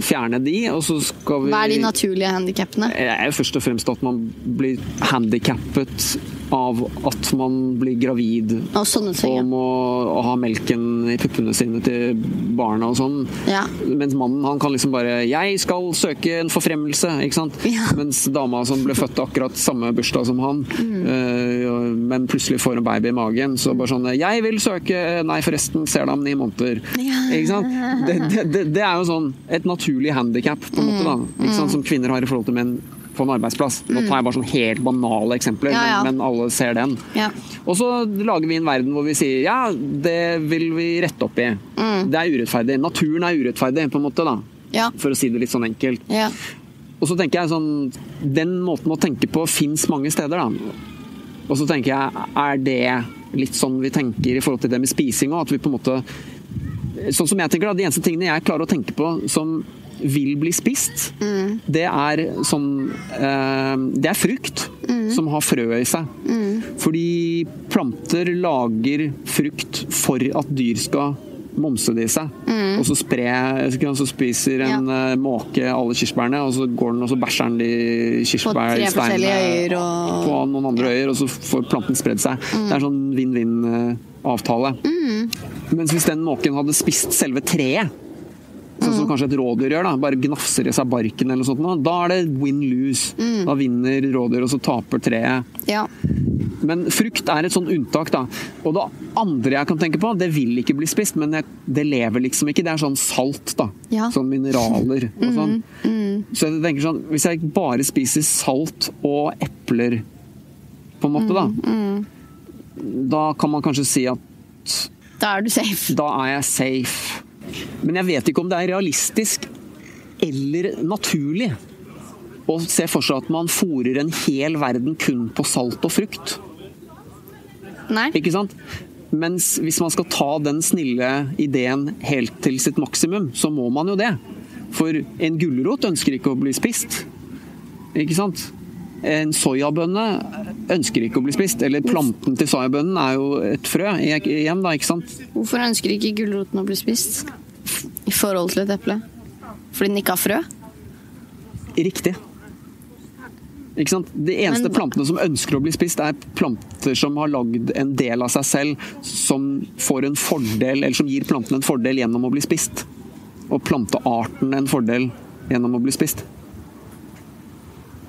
fjerne de, og så skal vi Eh,
Hva er de naturlige handikappene?
det er jo først og fremst at man blir handikappet av at man blir gravid
Og sånne ting.
og
ja.
må ha melken i puppene sine til barna og sånn.
Ja.
Mens mannen han kan liksom bare 'Jeg skal søke en forfremmelse', ikke sant?
Ja.
Mens dama som ble født akkurat samme bursdag som han,
Mm.
eh, og- men plutselig får en baby i magen, så bare sånn 'Jeg vil søke Nei, forresten, ser deg om ni måneder'.
Ja.
Ikke sant? Det, det, det, det er jo sånn et naturlig handikap, på en måte,
Mm.
da. Ikke sant? Som kvinner har i forhold til menn på en arbeidsplass. Nå tar jeg bare sånn helt banale eksempler,
Mm. Ja, ja.
Men, men alle ser den.
Ja.
Og så lager vi en verden hvor vi sier ja, det vil vi rette opp i. Det er urettferdig. Naturen er urettferdig, på en måte, da.
Ja.
For å si det litt sånn enkelt.
ja.
Og så tenker jeg sånn Den måten å tenke på fins mange steder, da. Og så tenker jeg, er det litt sånn vi tenker i forhold til det med spising òg? At vi på en måte Sånn som jeg tenker, da. De eneste tingene jeg klarer å tenke på som vil bli spist, det er sånn eh, Det er frukt som har frø i seg. Fordi planter lager frukt for at dyr skal momse det i seg. Og så, spre, så spiser en eh, måke alle kirsebærene, og så går den og så bæsjer den de
På tre forskjellige øyer
kirsebærsteinene
og Mm.
på noen andre øyer, og så får planten spredd seg. Det er sånn vinn-vinn-avtale. Mens hvis den måken hadde spist selve treet, sånn
Mm.
som kanskje et rådyr gjør, da, bare gnafser i seg barken eller noe sånt, nå, da er det win-lose.
Mm.
Da vinner rådyr, og så taper treet.
Ja.
Men frukt er et sånn unntak, da. Og det andre jeg kan tenke på, det vil ikke bli spist, men jeg, det lever liksom ikke. Det er sånn salt, da.
Ja.
Sånn mineraler og sånn. Så jeg tenker sånn, hvis jeg bare spiser salt og epler, på en måte, da. Da kan man kanskje si at
Da er du safe.
da er jeg safe. Men jeg vet ikke om det er realistisk. eller naturlig å se for seg at man fôrer en hel verden kun på salt og frukt.
Nei.
Ikke sant? Mens hvis man skal ta den snille ideen helt til sitt maksimum, så må man jo det. For en gulrot ønsker ikke å bli spist. Ikke sant? En soyabønne ønsker ikke å bli spist. Eller planten til soyabønnen er jo et frø igjen, da, ikke sant?
Hvorfor ønsker ikke gulroten å bli spist i forhold til et eple? Fordi den ikke har frø?
Riktig. Ikke sant? De eneste
Men-
plantene som ønsker å bli spist, er planter som har lagd en del av seg selv, som får en fordel, eller som gir planten en fordel gjennom å bli spist. Og plantearten en fordel gjennom å bli spist.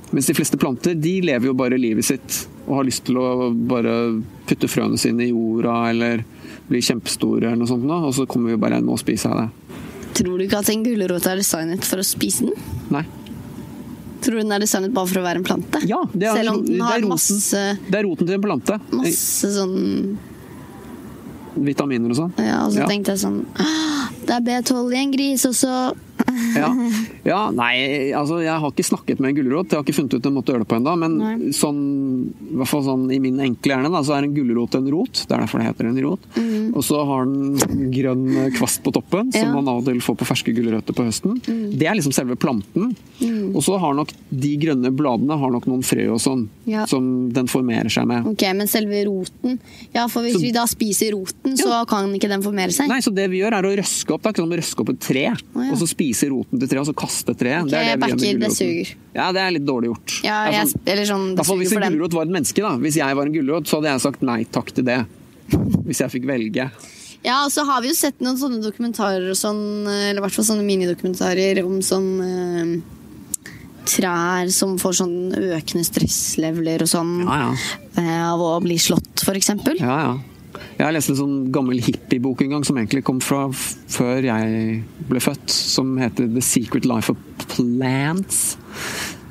Mens de fleste planter de lever jo bare livet sitt og har lyst til å bare putte frøene sine i jorda eller bli kjempestore, eller noe sånt, nå, og så kommer vi bare inn og spiser av det.
Tror du ikke at en gulrot er designet for å spise den?
Nei.
Tror du den er designet bare for å være en plante?
Ja, det er,
Selv om den
det er
har
roten,
masse,
det er roten til en plante.
masse sånn
vitaminer og sånn.
Ja, og så
Ja.
tenkte jeg sånn «Ah, Det er B12 i en gris også.
Ja. ja, nei, altså jeg har ikke snakket med en gulrot, jeg har ikke funnet ut en måte å gjøre det på ennå, men
Nei.
sånn, i hvert fall sånn i min enkle hjerne, da, så er en gulrot en rot, det er derfor det heter en rot, og så har den grønn kvast på toppen, som
Mm. Ja. Mm.
man av og til får på ferske gulrøtter på høsten. Det er liksom selve planten, og så har nok de grønne bladene har nok noen frø og sånn,
Ja.
som den formerer seg med.
Ok, Men selve roten Ja, for hvis
Så-
vi da spiser roten, så kan ikke den formere seg?
Nei, så det vi gjør er å røske opp. Det er ikke som å røske opp et tre,
ja.
og så spise roten til treet, og så kaste treet. det er det
jeg
vi gjør
backer,
med
det
gulroten.
suger.
Ja, det er litt dårlig gjort.
Ja,
Det er
jeg,
sånn-
eller sånn,
I
det
hvert fall hvis en
suger for den.
gulrot var et menneske, da. Hvis jeg var en gulrot, så hadde jeg sagt nei takk til det. Hvis jeg fikk velge.
Ja, og så har vi jo sett noen sånne dokumentarer og sånn, eller i hvert fall sånne minidokumentarer om sånn eh, trær som får sånn økende stressleveler og sånn.
Ja, ja.
eh, Av å bli slått, for eksempel.
Ja, ja. Jeg leste en sånn gammel hippiebok en gang, som egentlig kom fra f- før jeg ble født, som heter The Secret Life of Plants.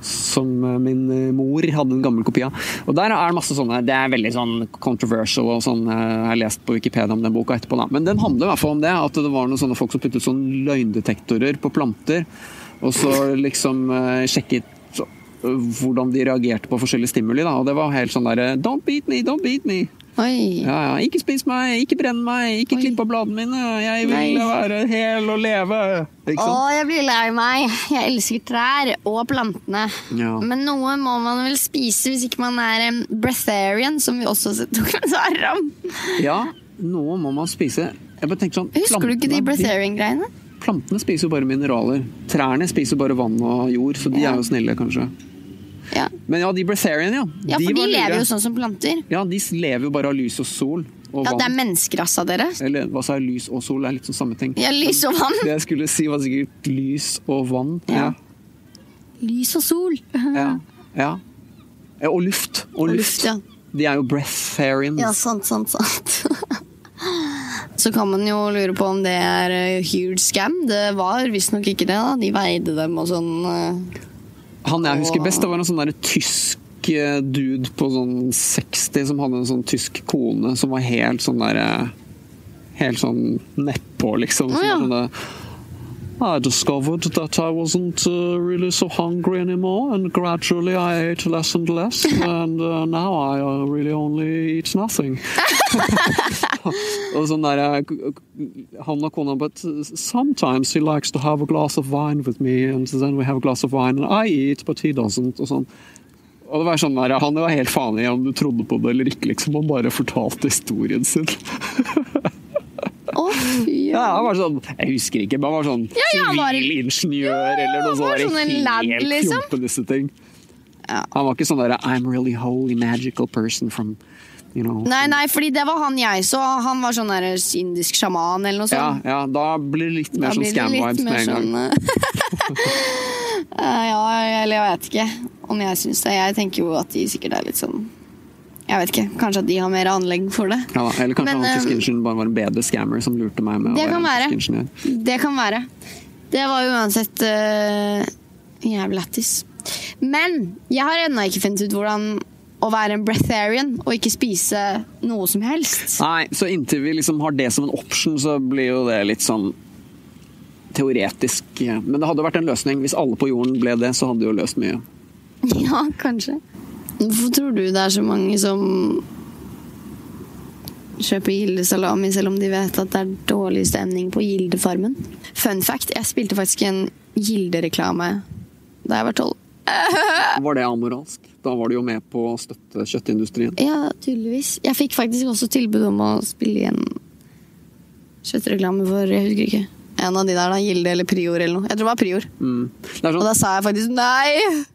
Som eh, min eh, mor hadde en gammel kopi av. Og der er det masse sånne Det er veldig sånn controversial og sånn eh, Jeg har lest på Wikipedia om den boka etterpå, da. Men den handler i hvert fall om det. At det var noen sånne folk som puttet sånn løgndetektorer på planter. Og så liksom eh, sjekket eh, hvordan de reagerte på forskjellige stimuli. Da. Og det var helt sånn derre Don't beat me, don't beat me.
Oi.
Ja, ja. Ikke spis meg, ikke brenn meg, ikke
Oi.
klipp av bladene mine. Jeg vil
Nei.
være hel og leve. Ikke
Å,
sant?
jeg blir lei meg. Jeg elsker trær og plantene.
Ja.
Men noe må man vel spise hvis ikke man er en breatharian, som vi også har sett dokumentarer om.
Ja, noe må man spise. Jeg bare tenker sånn,
Husker du ikke de
plantene,
breatharian-greiene?
Plantene spiser jo bare mineraler. Trærne spiser bare vann og jord, så de
Ja.
er jo snille, kanskje.
Ja.
Men ja, de breatharian, ja.
ja, for de
var lure.
lever jo sånn som planter.
Ja, de lever jo bare av lys og sol og
Ja, det er
vann.
mennesker, altså, dere.
Eller hva sa jeg, lys og sol er litt sånn samme ting.
Ja, lys og vann.
Det jeg skulle si var sikkert lys og vann.
Ja. Lys og sol.
Ja. ja. Ja, Og luft. Og, luft.
Mm. luft, ja.
De er jo breatharians.
Ja, sant, sant, sant. Så kan man jo lure på om det er eh, huge scam. Det var visstnok ikke det. da. De veide dem og sånn. eh.
Han jeg husker
Åh.
best, det var en sånn der tysk eh, dude på sånn 60 som hadde en sånn tysk kone som var helt sånn der eh, Helt sånn nedpå, liksom. Som
Å, ja.
var sånn der, I discovered that I wasn't uh, really so hungry anymore, and gradually I ate less and less, and uh, now I uh, really only eat nothing. og sånn der, eh, han og kona But sometimes he likes to have a glass of wine with me, and then we have a glass of wine, and I eat, but he doesn't. Og sånn. Og det var sånn der, Han var helt faen i om du trodde på det eller ikke. liksom, Han bare fortalte historien sin.
Å, fy.
Ja, Han var sånn, Jeg husker ikke, men han var sånn
ja, han var-
sivilingeniør eller noe
han var
sånt.
sånn en
helt
lad, liksom.
fjompenisse ting.
Ja.
Han var ikke sånn der, I'm really holy magical person from you know.
Nei, nei, fordi det var han jeg så. Han var sånn der indisk sjaman eller noe
Ja,
sånt.
ja, da blir det litt mer
sånn- Da
sånn
blir det litt
scam-vibes
mer
med en gang.
sånn, eh, ja, eller jeg vet ikke om jeg syns det. Jeg tenker jo at de sikkert er litt sånn Jeg vet ikke. Kanskje at de har mer anlegg for det.
Ja, da, eller kanskje
Men,
han tyske
eh,
ingeniøren bare var en bedre scammer som lurte meg med
Det
å
kan
være
være.
en tysk ingeniør.
Det kan være. Det var jo uansett uh, jævlig lættis. Men jeg har ennå ikke funnet ut hvordan å være en breatharian og ikke spise noe som helst.
Nei, så inntil vi liksom har det som en option, så blir jo det litt sånn teoretisk eh, Men det hadde vært en løsning. Hvis alle på jorden ble det, så hadde det jo løst mye.
Ja, kanskje. Hvorfor tror du det er så mange som kjøper Gilde-salami selv om de vet at det er dårlig stemning på Gilde-farmen? Fun fact, jeg spilte faktisk en Gilde-reklame da jeg var tolv.
Var det amoralsk? Da var du jo med på å støtte kjøttindustrien.
Ja, tydeligvis. Jeg fikk faktisk også tilbud om å spille i en kjøttreklame for Jeg husker ikke. En av de der, da. Gilde eller Prior eller noe. Jeg tror det var Prior.
Mm. Det er
Og
sånn,
da sa jeg faktisk nei!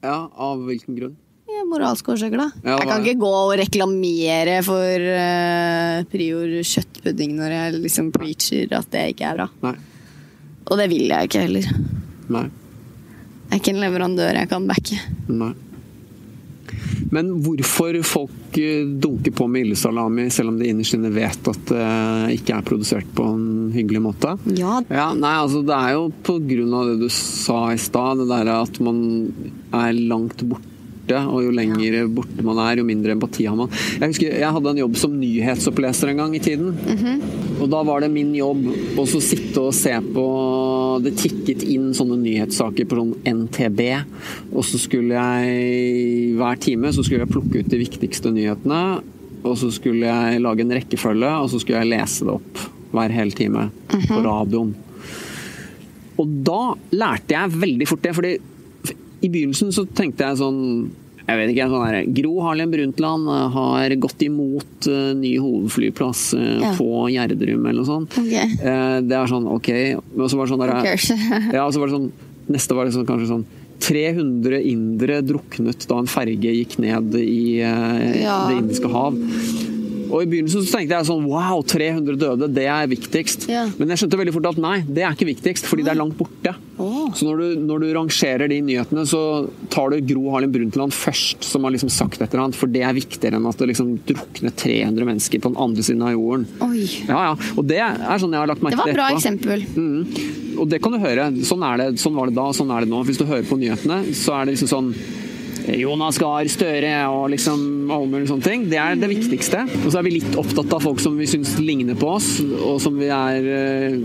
ja, Av hvilken grunn?
Ja, moralske årsaker, da.
Ja,
jeg kan
hva-
ikke gå og reklamere for eh, Prior kjøttpudding når jeg liksom preacher at det ikke er bra.
Nei.
Og det vil jeg ikke heller.
Nei.
Jeg er ikke en leverandør jeg kan backe.
Nei. Men hvorfor folk eh, dunker på med illesalami selv om de innerst inne vet at det ikke er produsert på en hyggelig måte?
Ja,
Ja, nei, altså Det er jo på grunn av det du sa i stad, det der at man er langt borte. Og jo lenger borte man er, jo mindre empati har man. Jeg husker jeg hadde en jobb som nyhetsoppleser en gang i tiden. Og da var det min jobb å så sitte og se på Det tikket inn sånne nyhetssaker på sånn NTB. Og så skulle jeg hver time så skulle jeg plukke ut de viktigste nyhetene. Og så skulle jeg lage en rekkefølge, og så skulle jeg lese det opp hver hel time på radioen. Og da lærte jeg veldig fort det, fordi i begynnelsen så tenkte jeg sånn jeg vet ikke, sånn her, Gro Harlem Brundtland eh, har gått imot eh, ny hovedflyplass eh,
Ja.
på Gjerdrum eller noe sånt.
Ok.
Eh, Det er sånn, ok. Men så var det sånn der,
Ok.
ja, og så var det sånn, neste var det sånn, kanskje sånn 300 indere druknet da en ferge gikk ned i eh,
Ja.
det indiske hav. Og I begynnelsen så tenkte jeg sånn Wow, 300 døde, det er viktigst.
Ja.
Men jeg skjønte veldig fort at nei, det er ikke viktigst, fordi det er langt borte.
Åh.
Så når du, når du rangerer de nyhetene, så tar du Gro Harlem Brundtland først, som har liksom sagt et eller annet, for det er viktigere enn at det liksom drukner 300 mennesker på den andre siden av jorden.
Oi.
Ja, ja. Og det er sånn jeg har lagt merke
Det var et
til
bra
etterpå.
eksempel.
Mhm. Og det kan du høre. Sånn, er det. sånn var det da, sånn er det nå. Hvis du hører på nyhetene, så er det liksom sånn Jonas Gahr Støre og liksom alle mulige sånne ting. Det er det viktigste. Og så er vi litt opptatt av folk som vi syns ligner på oss, og som vi er eh,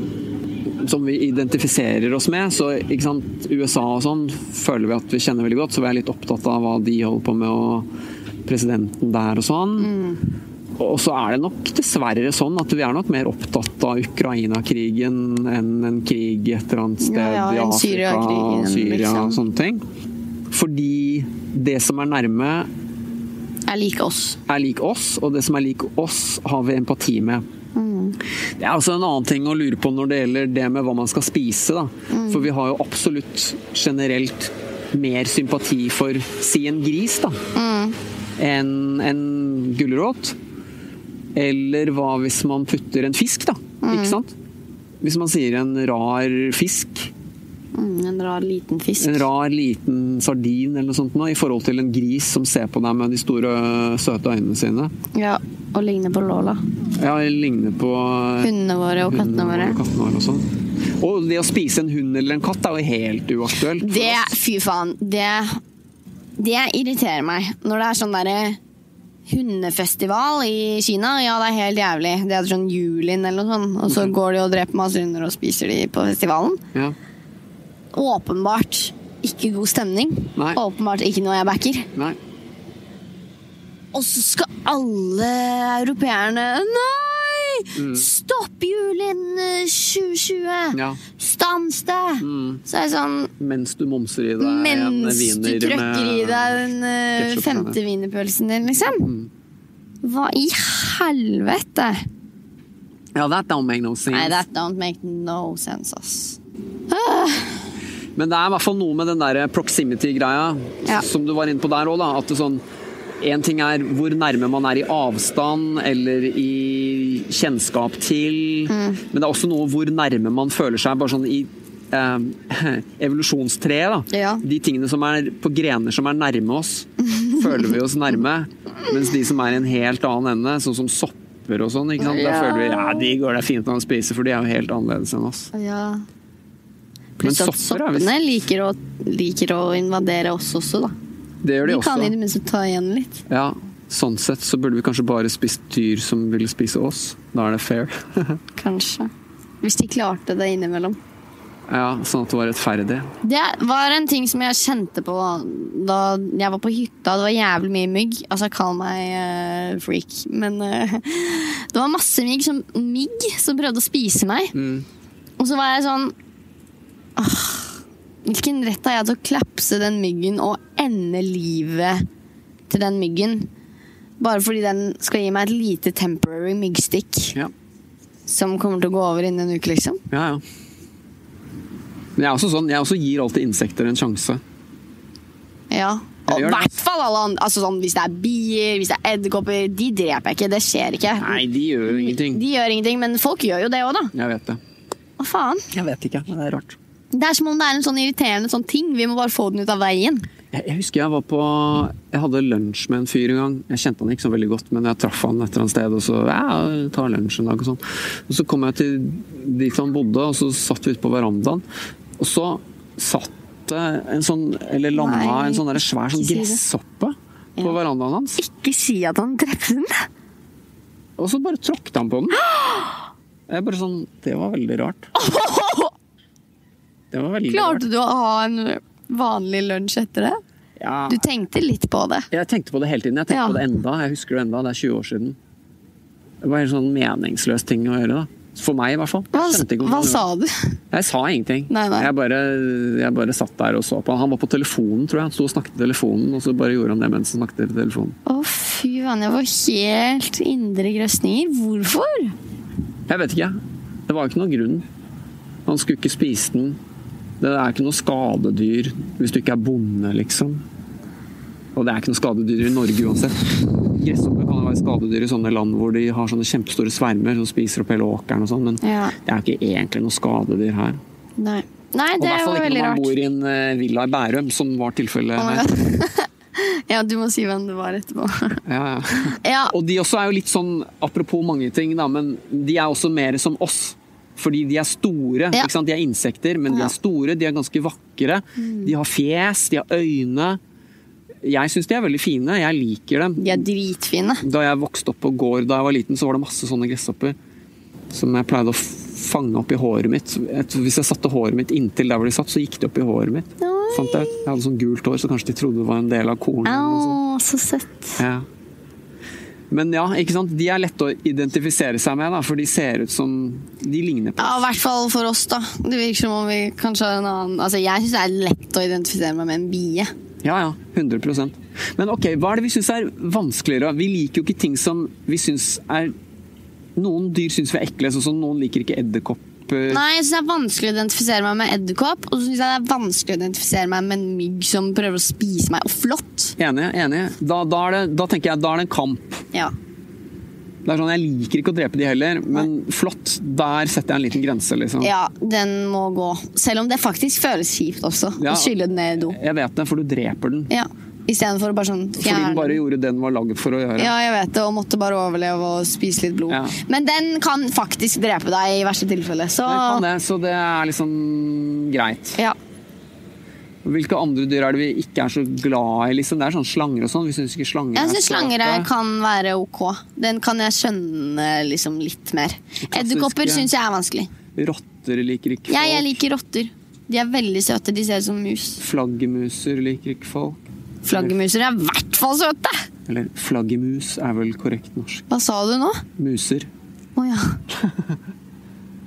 som vi identifiserer oss med. Så ikke sant, USA og sånn føler vi at vi kjenner veldig godt, så vi er litt opptatt av hva de holder på med, og presidenten der og sånn.
Mm.
Og så er det nok dessverre sånn at vi er nok mer opptatt av Ukraina-krigen enn en krig et eller annet sted
Ja, ja,
i Afrika
en
og
Syria-krigen,
Syria
liksom.
og sånne ting. Fordi det som er nærme,
Jeg liker oss.
er lik oss, og det som er lik oss, har vi empati med. Det er altså en annen ting å lure på når det gjelder det med hva man skal spise. Da. For vi har jo absolutt generelt mer sympati for si en gris, da
Mm.
enn en gulrot. Eller hva hvis man putter en fisk, da? Ikke sant? Hvis man sier en rar fisk,
Mm, en rar liten fisk.
en rar liten sardin eller noe sånt nå, i forhold til en gris som ser på deg med de store, søte øynene sine.
Ja, Og ligner på Lola.
Ja, jeg ligner på eh,
Hundene våre og kattene våre.
Og, kattene våre og, sånn. og det å spise en hund eller en katt er jo helt uaktuelt. for
Det,
oss.
fy faen, det Det irriterer meg Når det er sånn derre Hundefestival i Kina Ja, det er helt jævlig Det er sånn julin eller noe sånt Og så går de og dreper masse hunder og spiser de på festivalen
Ja.
Åpenbart ikke god stemning
Nei.
Åpenbart ikke noe jeg backer
Nei.
Og så skal alle europeerne Nei!
Mm.
Stopp julin eh, 2020
Ja.
Stans det
Mm.
Så er det sånn
Mens du momser i deg en
mens du
wiener
trøkker i
med-
deg den eh,
ketchup Mm. på
femte
det.
wienerpølsen din, liksom. Hva i helvete?
Ja, that don't make no sense.
Nei, that don't make no sense, ass.
Men det er i hvert fall noe med den der proximity-greia
Ja.
som du var inne på der òg, da. At det sånn Én ting er hvor nærme man er i avstand eller i kjennskap til,
Mm.
men det er også noe hvor nærme man føler seg. Bare sånn i eh, evolusjonstreet, da.
Ja.
De tingene som er på grener som er nærme oss, føler vi oss nærme. Mens de som er i en helt annen ende, sånn som sopper og sånn, ikke sant? der
Ja.
føler vi ja, de går det fint an å spise, for de er jo helt annerledes enn oss.
Ja.
Men
Pluss at
sopper er visst-
soppene liker å, liker å invadere oss også, da.
Det gjør de
Vi
også.
kan i det minste ta igjen litt.
Ja, sånn sett så burde vi kanskje bare spist dyr som ville spise oss. Da er det fair.
Kanskje. Hvis de klarte det innimellom.
Ja, Sånn at det var rettferdig.
Det var en ting som jeg kjente på da jeg var på hytta. Det var jævlig mye mygg. Altså, kall meg eh, freak, men eh, det var masse mygg som, mygg som prøvde å spise meg.
Mm.
Og så var jeg sånn «Åh, Hvilken rett har jeg til å klapse den myggen og ende livet til den myggen? Bare fordi den skal gi meg et lite temporary myggstikk
Ja.
som kommer til å gå over innen en uke, liksom.
Ja, ja. Men jeg er også sånn, jeg også gir alltid insekter en sjanse.
Ja.
Jeg
Og i
gjør det,
hvert fall alle andre. Altså sånn, hvis det er bier, hvis det er edderkopper, de dreper jeg ikke. Det skjer ikke.
Nei, de gjør jo ingenting.
De gjør ingenting, men folk gjør jo det òg, da.
Jeg vet det.
Hva faen?
Jeg vet ikke, men det er rart.
Det er som om det er en sånn irriterende sånn ting. Vi må bare få den ut av veien.
Jeg, jeg husker jeg var på Jeg hadde lunsj med en fyr en gang. Jeg kjente han ikke så veldig godt, men jeg traff han et eller annet sted. Og så ja, ta lunsj en dag og sånn. Og så kom jeg til dit han bodde, og så satt vi ute på verandaen. Og så satt det en sånn Eller landa
Nei,
en sånn der svær sånn
ikke si det.
gresshoppe på
Ja.
verandaen hans.
Ikke si at han drepte den.
Og så bare tråkket han på den. Jeg bare sånn Det var veldig rart. Det var veldig
Klarte du å ha en vanlig lunsj etter det?
rart. Ja.
Du tenkte litt på det.
Jeg tenkte på det hele tiden. Jeg tenker
Ja.
på det enda. Jeg husker det enda. Det er 20 år siden. Det var en sånn meningsløs ting å gjøre, da. For meg, i hvert fall. Jeg
Hva,
skjønte ikke hvorfor
hva
det
sa
var-
du?
Jeg sa ingenting.
Nei, nei.
Jeg, bare, jeg bare satt der og så på han. Han var på telefonen, tror jeg. Han sto og snakket i telefonen, og så bare gjorde han det mens han snakket i telefonen.
Å, fy faen, jeg var helt indre grøsninger. Hvorfor?
Jeg vet ikke. Det var ikke noen grunn. Han skulle ikke spise den. Det er ikke noe skadedyr hvis du ikke er bonde, liksom. Og det er ikke noe skadedyr i Norge uansett. Gresshopper kan jo være skadedyr i sånne land hvor de har sånne kjempestore svermer som spiser opp hele åkeren og sånn, men
Ja.
det er jo ikke egentlig noe skadedyr her.
Nei, Nei
Og i
det
hvert fall
var
ikke når
veldig
man
rart.
bor i en eh, villa i Bærum, som var tilfellet.
Oh my
her.
Ja, du må si hvem det var etterpå.
ja, ja.
ja,
Og de også er jo litt sånn, apropos mange ting, da, men de er også mer som oss. Fordi de er store.
Ja.
ikke sant? De er insekter, men de
Ja. Mm.
er store, de er ganske vakre. De har fjes, de har øyne. Jeg syns de er veldig fine. Jeg liker dem.
de er dritfine.
Da jeg vokste opp på gård da jeg var liten, så var det masse sånne gresshopper som jeg pleide å fange opp i håret mitt. Et- Hvis jeg satte håret mitt inntil der hvor de satt, så gikk de opp i håret mitt.
Oi.
Fant jeg ut. Jeg hadde sånn gult hår, så kanskje de trodde det var en del av kornet. eller noe sånt.
Au, så søtt.
Ja. Men ja, ikke sant? de er lette å identifisere seg med, da, for de ser ut som De ligner på
Ja, I
oss.
hvert fall for oss, da. Det virker som om vi kanskje har en annen Altså, Jeg syns det er lett å identifisere meg med en bie.
Ja, ja. 100 Men ok, hva er det vi syns er vanskeligere? Vi liker jo ikke ting som vi syns er Noen dyr syns vi er ekle, sånn som noen liker ikke edderkopper.
Nei, jeg syns det er vanskelig å identifisere meg med edderkopp. Og så syns jeg det er vanskelig å identifisere meg med en mygg som prøver å spise meg. Og flott!
Enig. enig. Da, da, er det, da tenker jeg da er det en kamp.
Ja.
Det er sånn, Jeg liker ikke å drepe de heller, men flott. Der setter jeg en liten grense, liksom.
ja, den må gå. Selv om det faktisk føles kjipt også.
Ja.
Å skylle den ned i do.
Jeg vet det, for du dreper den.
Ja. Istedenfor å bare sånn
Fordi
fjerne
den bare gjorde det den var laget for å gjøre.
Ja, jeg vet det, og måtte bare overleve og spise litt blod.
Ja.
Men den kan faktisk drepe deg i verste tilfelle, så
Den kan det, så det er liksom greit.
ja.
Hvilke andre dyr er det vi ikke er så glad i? Liksom? Det er sånn slanger og sånn. Vi syns ikke slanger
Jeg syns
søte.
slangere kan være ok. Den kan jeg skjønne liksom litt mer. Edderkopper syns jeg er vanskelig.
Rotter liker ikke folk.
Jeg, jeg liker rotter. De er veldig søte. De ser ut som mus.
Flaggermuser liker ikke folk.
Flaggermuser er i hvert fall søte!
Eller flaggermus er vel korrekt norsk.
Hva sa du nå?
Muser.
Å ja.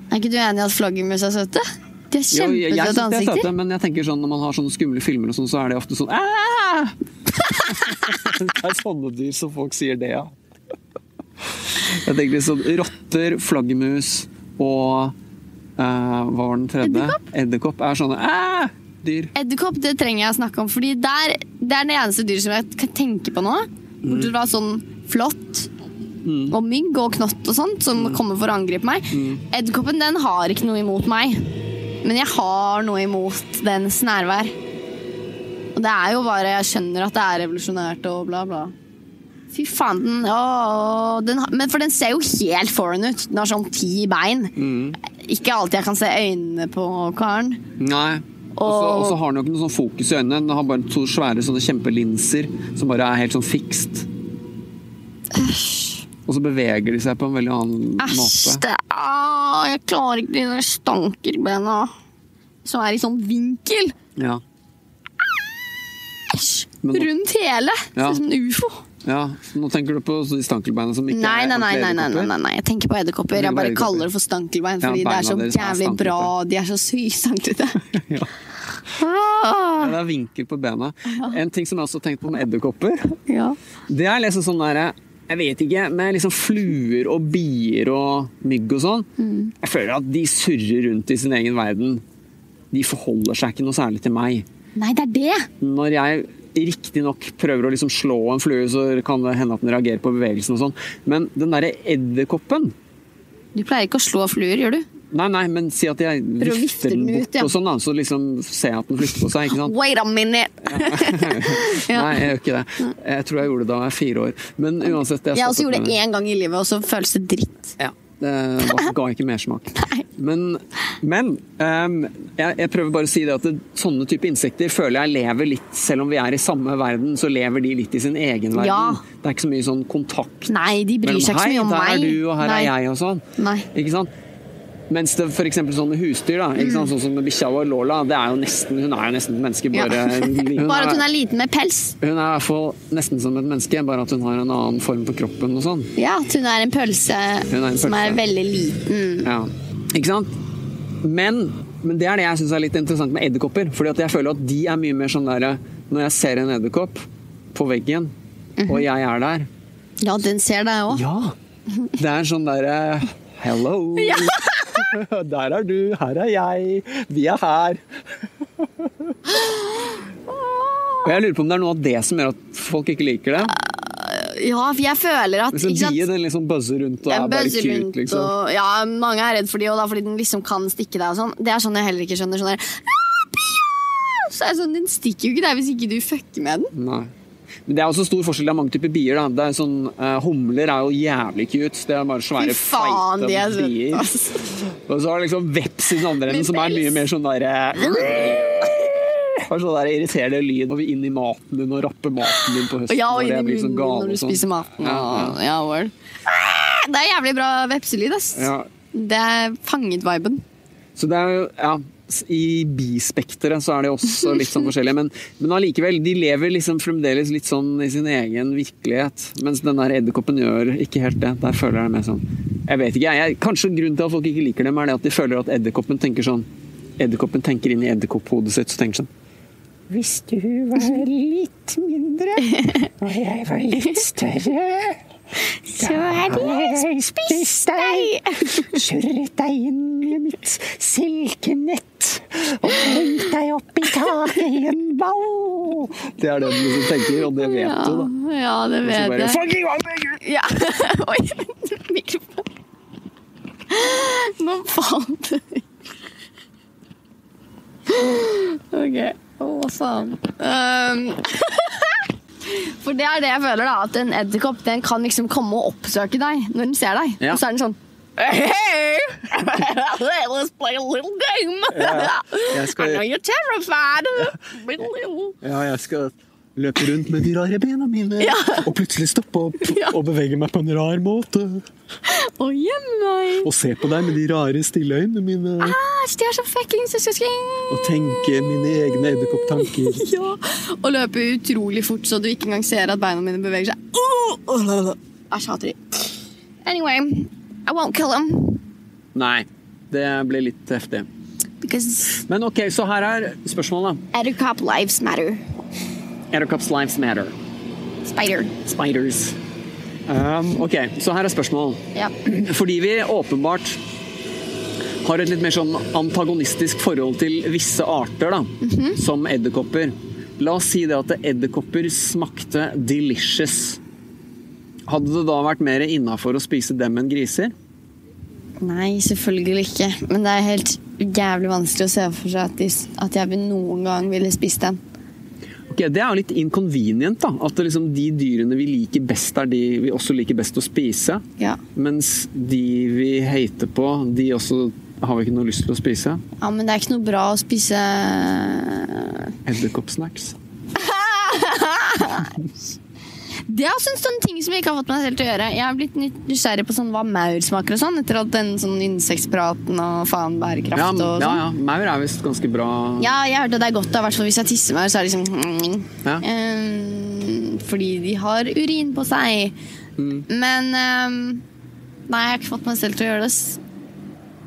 Er ikke du enig i at flaggermus er søte? De har
Jo, jeg jeg syns de
kjempesøte
er søte,
ansikter.
men jeg tenker sånn når man har sånne skumle filmer, og sånn, så er det ofte sånn «Æ!» Det er sånne dyr som folk sier det, ja. Jeg tenker liksom rotter, flaggermus og eh, Hva var den tredje? Edderkopp er sånne «Æ!» dyr.
Edderkopp det trenger jeg å snakke om, Fordi der, det er det eneste dyret som jeg kan tenke på nå. Bortsett fra sånn flått og mygg og knott og sånt som kommer for å angripe meg. Edderkoppen den har ikke noe imot meg, men jeg har noe imot dens nærvær. Og det er jo bare Jeg skjønner at det er revolusjonært og bla, bla. Fy faen, den, å, den har- Men for den ser jo helt foreign ut. Den har sånn ti bein. Ikke alltid jeg kan se øynene på karen.
Nei. Og så-
Og-
Og så har den jo ikke noe sånn fokus i øynene. Den har bare to svære sånne kjempelinser som bare er helt sånn fikst. Og så beveger de seg på en veldig annen
Æsj,
måte.
det ah, Jeg klarer ikke de der stankerbena som er i sånn vinkel.
Ja.
Æsj!
Men nå-
Rundt hele.
Ja.
Ser ut som en ufo.
ja. Så nå tenker du på de stankelbeina som ikke
Nei
er
nei nei,
ordentlige
nei, nei, nei,
edderkopper?
nei, nei, jeg tenker på edderkopper.
Tenker
Jeg
på
bare
edderkopper.
kaller det for stankelbein, fordi det
beina
er så
deres er sånn
jævlig
stankelte.
bra. De er så sykt stanklete.
Ja.
Ah,
Ja, Det er vinkel på bena. En ting som jeg også har tenkt på med edderkopper,
ja.
det er liksom sånn derre jeg vet ikke, med liksom fluer og bier og mygg og sånn.
Mm.
Jeg føler at de surrer rundt i sin egen verden. De forholder seg ikke noe særlig til meg.
Nei, det er det!
Når jeg riktignok prøver å liksom slå en flue, så kan det hende at den reagerer på bevegelsen og sånn, men den derre edderkoppen
Du pleier ikke å slå fluer, gjør du?
Nei, nei, men si at jeg
å vifte
vifter den
den ut,
bort
ja.
og sånn, da, så liksom ser jeg at den flykter på seg. ikke sant?
Wait a minute! Ja.
Nei, jeg gjør ikke det. Jeg tror jeg gjorde det da jeg var fire år. Men uansett
Jeg også gjorde
det
det én gang i livet, og så føles det dritt.
Ja. Det var- ga ikke mersmak.
Nei.
Men, men ehm, jeg, jeg prøver bare å si det at det, sånne type insekter føler jeg lever litt Selv om vi er i samme verden, så lever de litt i sin egen verden.
Ja.
Det er ikke så mye sånn kontakt
Nei, de bryr seg ikke så mye om meg.
Hei, der er du, og her
Nei.
er jeg, og sånn.
Nei.
Ikke sant? Mens det for eksempel sånn med husdyr, da,
Mm.
ikke sant? sånn som med bikkja vår Lola, det er jo nesten, hun er jo nesten et menneske,
Ja.
bare
Bare at hun er liten med pels.
Hun er i hvert fall nesten som et menneske, bare at hun har en annen form på kroppen og sånn.
Ja, at hun er en pølse
Hun er en
som
pølse.
er veldig liten.
Ja. Ikke sant? Men, men det er det jeg syns er litt interessant med edderkopper. Fordi at jeg føler at de er mye mer sånn derre Når jeg ser en edderkopp på veggen,
Mhm.
og jeg er der
Ja, den ser deg òg.
Ja! Det er sånn derre Hello! Der er du, her er jeg, vi er her. Og jeg lurer på om det er noe av det som gjør at folk ikke liker det.
Ja, for jeg føler at
Hvis
ikke
en bie
sant?
den liksom buzzer rundt og er
Den
bare
bøser
cute,
rundt
liksom.
og Ja, mange er redd for de, og da fordi den liksom kan stikke deg og sånn. Det er sånn jeg heller ikke skjønner. Sånn der «Ah, bia!» så er det sånn, Den stikker jo ikke deg hvis ikke du fucker med den.
Nei. Men det er også stor forskjell. Det er mange typer bier. da. Det er sånn, eh, humler er jo jævlig cute. Det er bare
Fy
svære,
faen, de
feite
er
bier.
søte.
Og så har du liksom veps i den andre
Med
enden, som er
pels.
mye mer sånn derre Har sånn der irriterende lyd når vi inn i maten din og rapper maten din på høsten.
Ja,
når
og inn i
jeg blir
munnen
sånn gal
når du
og sånn.
spiser maten.
Ja,
Og, ja, word. Ah, Det er jævlig bra vepselyd, ass.
Ja.
Det er fanget viben.
Så det er jo, ja, I bispekteret så er de også litt sånn forskjellige, men, men allikevel. De lever liksom fremdeles litt sånn i sin egen virkelighet. Mens den der edderkoppen gjør ikke helt det. Der føler jeg det mer sånn Jeg vet ikke, jeg. Kanskje grunnen til at folk ikke liker dem, er det at de føler at edderkoppen tenker sånn Edderkoppen tenker inn i edderkopphodet sitt, så tenker sånn Hvis du var litt mindre, og jeg var litt større
Så er det
jeg spist
deg.
Kjørret deg inn i mitt silkenett og hengt deg opp i taket i en ball. Det er det du liksom tenker, og det vet
Ja,
du, da.
ja, det
Så
vet
bare,
jeg.
Fuck you, I'm bigger!
Ja. Oi, mikrofon. Nå falt det OK. Å, hva faen. Ehm, For det er det jeg føler, da. At en edderkopp den kan liksom komme og oppsøke deg når den ser deg.
Ja.
Og så er den sånn Hey, let's play a little game.
Ja, jeg skal-
I know you're terrified. Big little-
Ja, jeg skal løpe rundt med de rare bena mine,
Ja.
og plutselig stoppe opp
Ja.
og bevege meg på en rar måte.
Å, gjem meg.
Og se på deg med de rare stille øynene mine,
Æsj, de er så fuckings søsken.
og tenke mine egne edderkopptanker.
Ja, og løpe utrolig fort så du ikke engang ser at beina mine beveger seg. Åh, åh, la, la, la. Æsj, hater de. Anyway, I won't kill them.
Nei, det ble litt heftig.
Because
Men ok, så her er spørsmålet.
edderkop lives matter.
Edderkopps lives matter.
Spider.
Spiders. Um, ok, så her er spørsmål.
Ja.
Fordi vi åpenbart har et litt mer sånn antagonistisk forhold til visse arter, da,
Mhm.
som edderkopper. La oss si det at edderkopper smakte delicious. Hadde det da vært mer innafor å spise dem enn griser?
Nei, selvfølgelig ikke. Men det er helt jævlig vanskelig å se for seg at, de, at jeg noen gang ville spist den.
Ok, Det er jo litt inconvenient, da. At det liksom de dyrene vi liker best, er de vi også liker best å spise.
Ja.
Mens de vi hater på, de også har vi ikke noe lyst til å spise.
ja, men det er ikke noe bra å spise
Edderkoppsnacks.
Det er også en sånn ting som jeg ikke har fått meg selv til å gjøre. Jeg har blitt nytt- nysgjerrig på sånn hva maur smaker og sånn, etter all den sånn insektpraten og faen bærekraft
Ja,
og sånn.
ja, ja. Maur er visst ganske bra
Ja, jeg hørte det er godt, da, hvertfall hvis jeg tisser meg, så er det liksom
Ja.
Ehm, Fordi de har urin på seg.
Mm.
Men ehm, Nei, jeg har ikke fått meg selv til å gjøre det. ass.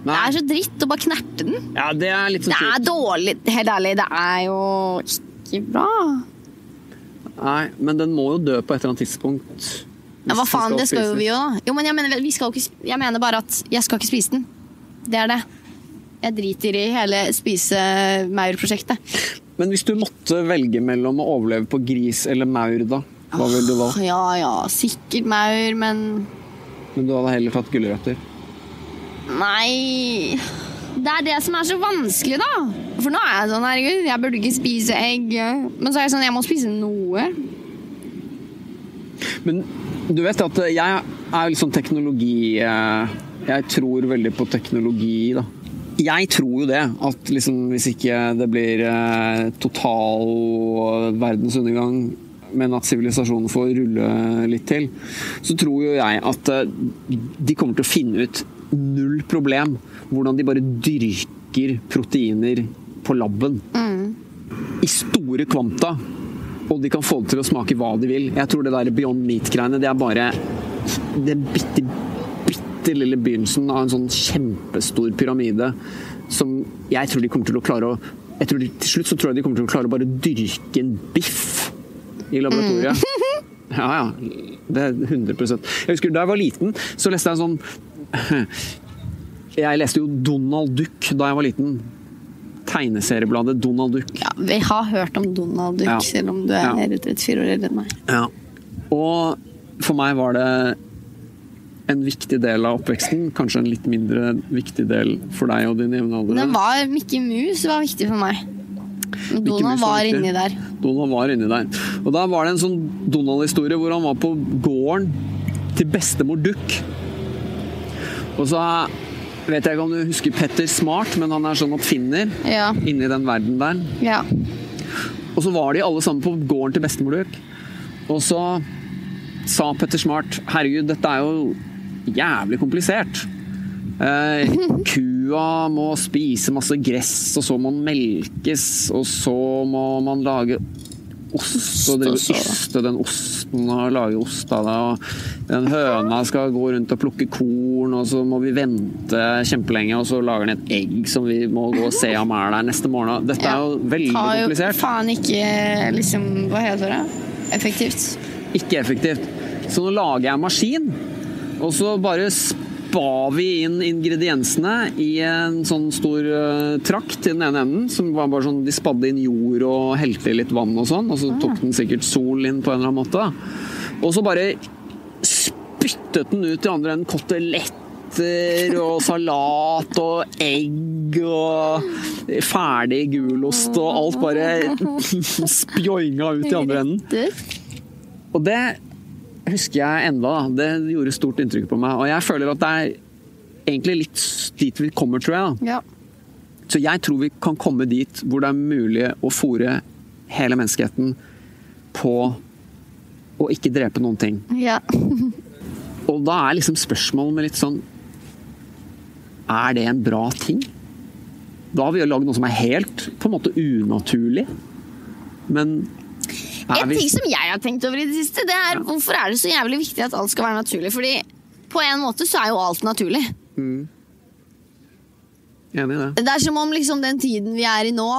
Det
Nei.
er så dritt å bare knerte den.
Ja, det er litt sånn
Det er
kjipt.
dårlig. Helt ærlig, det er jo ikke bra.
Nei, men den må jo dø på et eller annet tidspunkt.
Ja, hva
Hvis den
faen, det skal jo
spises.
vi jo, da. Jo, men jeg mener, vi skal jo ikke, sp- jeg mener bare at jeg skal ikke spise den. Det er det. Jeg driter i hele spise-maur-prosjektet.
Men hvis du måtte velge mellom å overleve på gris eller maur, da? Hva ville du valgt?
Ja ja, sikkert maur, men
Men du hadde heller tatt gulrøtter.
Nei Det er det som er så vanskelig, da. For nå er jeg sånn, herregud, jeg burde ikke spise egg. Men så er jeg sånn, jeg må spise noe.
Men du vet at jeg er litt sånn teknologi eh, Jeg tror veldig på teknologi, da. Jeg tror jo det, at liksom, hvis ikke det blir eh, total verdens undergang, men at sivilisasjonen får rulle litt til, så tror jo jeg at eh, de kommer til å finne ut null problem hvordan de bare dyrker proteiner på laben i store kvanta, og de kan få det til å smake hva de vil. Jeg tror det der Beyond Meat-greiene, det er bare den bitte, bitte lille begynnelsen av en sånn kjempestor pyramide som jeg tror de kommer til å klare å jeg tror de, Til slutt så tror jeg de kommer til å klare å bare dyrke en biff i laboratoriet. Ja, ja. Det er 100 Jeg husker da jeg var liten, så leste jeg en sånn Jeg leste jo Donald Duck da jeg var liten. Tegneseriebladet Donald Duck.
Ja, vi har hørt om Donald Duck,
Ja.
selv om du er
Ja.
rundt 34 år eldre enn meg.
Ja. Og for meg var det en viktig del av oppveksten. Kanskje en litt mindre viktig del for deg og dine jevnaldrende.
Den var Mikke Mus var viktig for meg.
Mus
Men Donald
var
var
viktig.
inni der.
Donald var inni der. Og der var det en sånn Donald-historie hvor han var på gården til bestemor Duck. Og så vet jeg ikke om du husker Petter Smart, men han er sånn at finner
Ja.
inni den verden der.
ja.
Og så var de alle sammen på gården til bestemor Lurk. Og så sa Petter Smart Herregud, dette er jo jævlig komplisert. Eh, kua må spise masse gress, og så må den melkes, og så må man lage ost og drive
også,
og
da.
yste den osten og lage ost av det. Og den høna skal gå rundt og plukke korn, og så må vi vente kjempelenge, og så lager den et egg som vi må gå og se om er der neste morgen. Dette er jo veldig
Har jo
komplisert.
faen ikke liksom Hva heter det? Effektivt.
ikke effektivt. Så nå lager jeg en maskin, og så bare spar vi inn ingrediensene i en sånn stor eh, trakt i den ene enden. Som var bare sånn, de spadde inn jord og helte i litt vann og sånn, og så tok den sikkert sol inn på en eller annen måte. da. Og så bare spyttet den ut i andre enden koteletter og salat og egg og ferdig gulost og alt bare spjoinga ut i andre enden. Og det husker jeg enda, da. Det gjorde stort inntrykk på meg. Og jeg føler at det er egentlig litt dit vi kommer, tror jeg.
Ja.
Da. Så jeg tror vi kan komme dit hvor det er mulig å fòre hele menneskeheten på å ikke drepe noen ting.
ja.
Og da er liksom spørsmålet med litt sånn Er det en bra ting? Da har vi jo lagd noe som er helt på en måte unaturlig. Men er
En
vi
ting som jeg har tenkt over i det siste, det er hvorfor er det så jævlig viktig at alt skal være naturlig? Fordi på en måte så er jo alt naturlig.
Enig i det.
Det er som om liksom den tiden vi er i nå,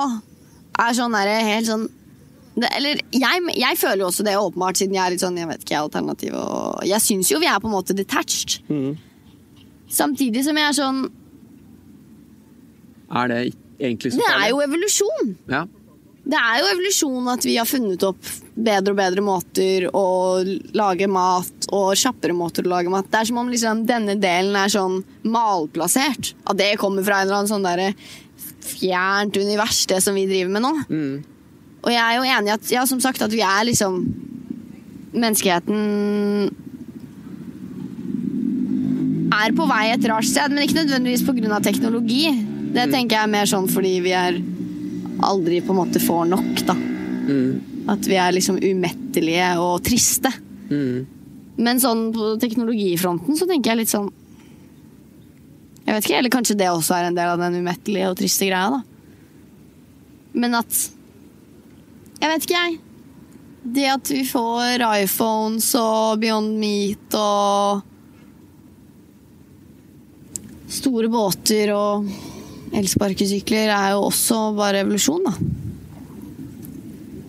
er sånn derre helt sånn det, eller jeg, jeg føler jo også det, åpenbart, siden jeg er litt sånn jeg vet ikke, alternativ og Jeg syns jo vi er på en måte detached. Samtidig som jeg er sånn
Er det egentlig så
Det er
farlig?
jo evolusjon!
Ja.
Det er jo evolusjon at vi har funnet opp bedre og bedre måter å lage mat og kjappere måter å lage mat. Det er som om liksom denne delen er sånn malplassert. At det kommer fra en eller annen sånn derre fjernt univers, det som vi driver med nå. Og jeg er jo enig i at, ja, som sagt, at vi er liksom Menneskeheten er på vei et rart sted, men ikke nødvendigvis pga. teknologi. Det tenker jeg er mer sånn fordi vi er aldri på en måte får nok, da. At vi er liksom umettelige og triste.
Mm.
Men sånn på teknologifronten så tenker jeg litt sånn Jeg vet ikke, eller kanskje det også er en del av den umettelige og triste greia, da. Men at Jeg vet ikke, jeg. Det at vi får iPhones og Beyond Meat og Store båter og elsparkesykler er jo også bare revolusjon, da.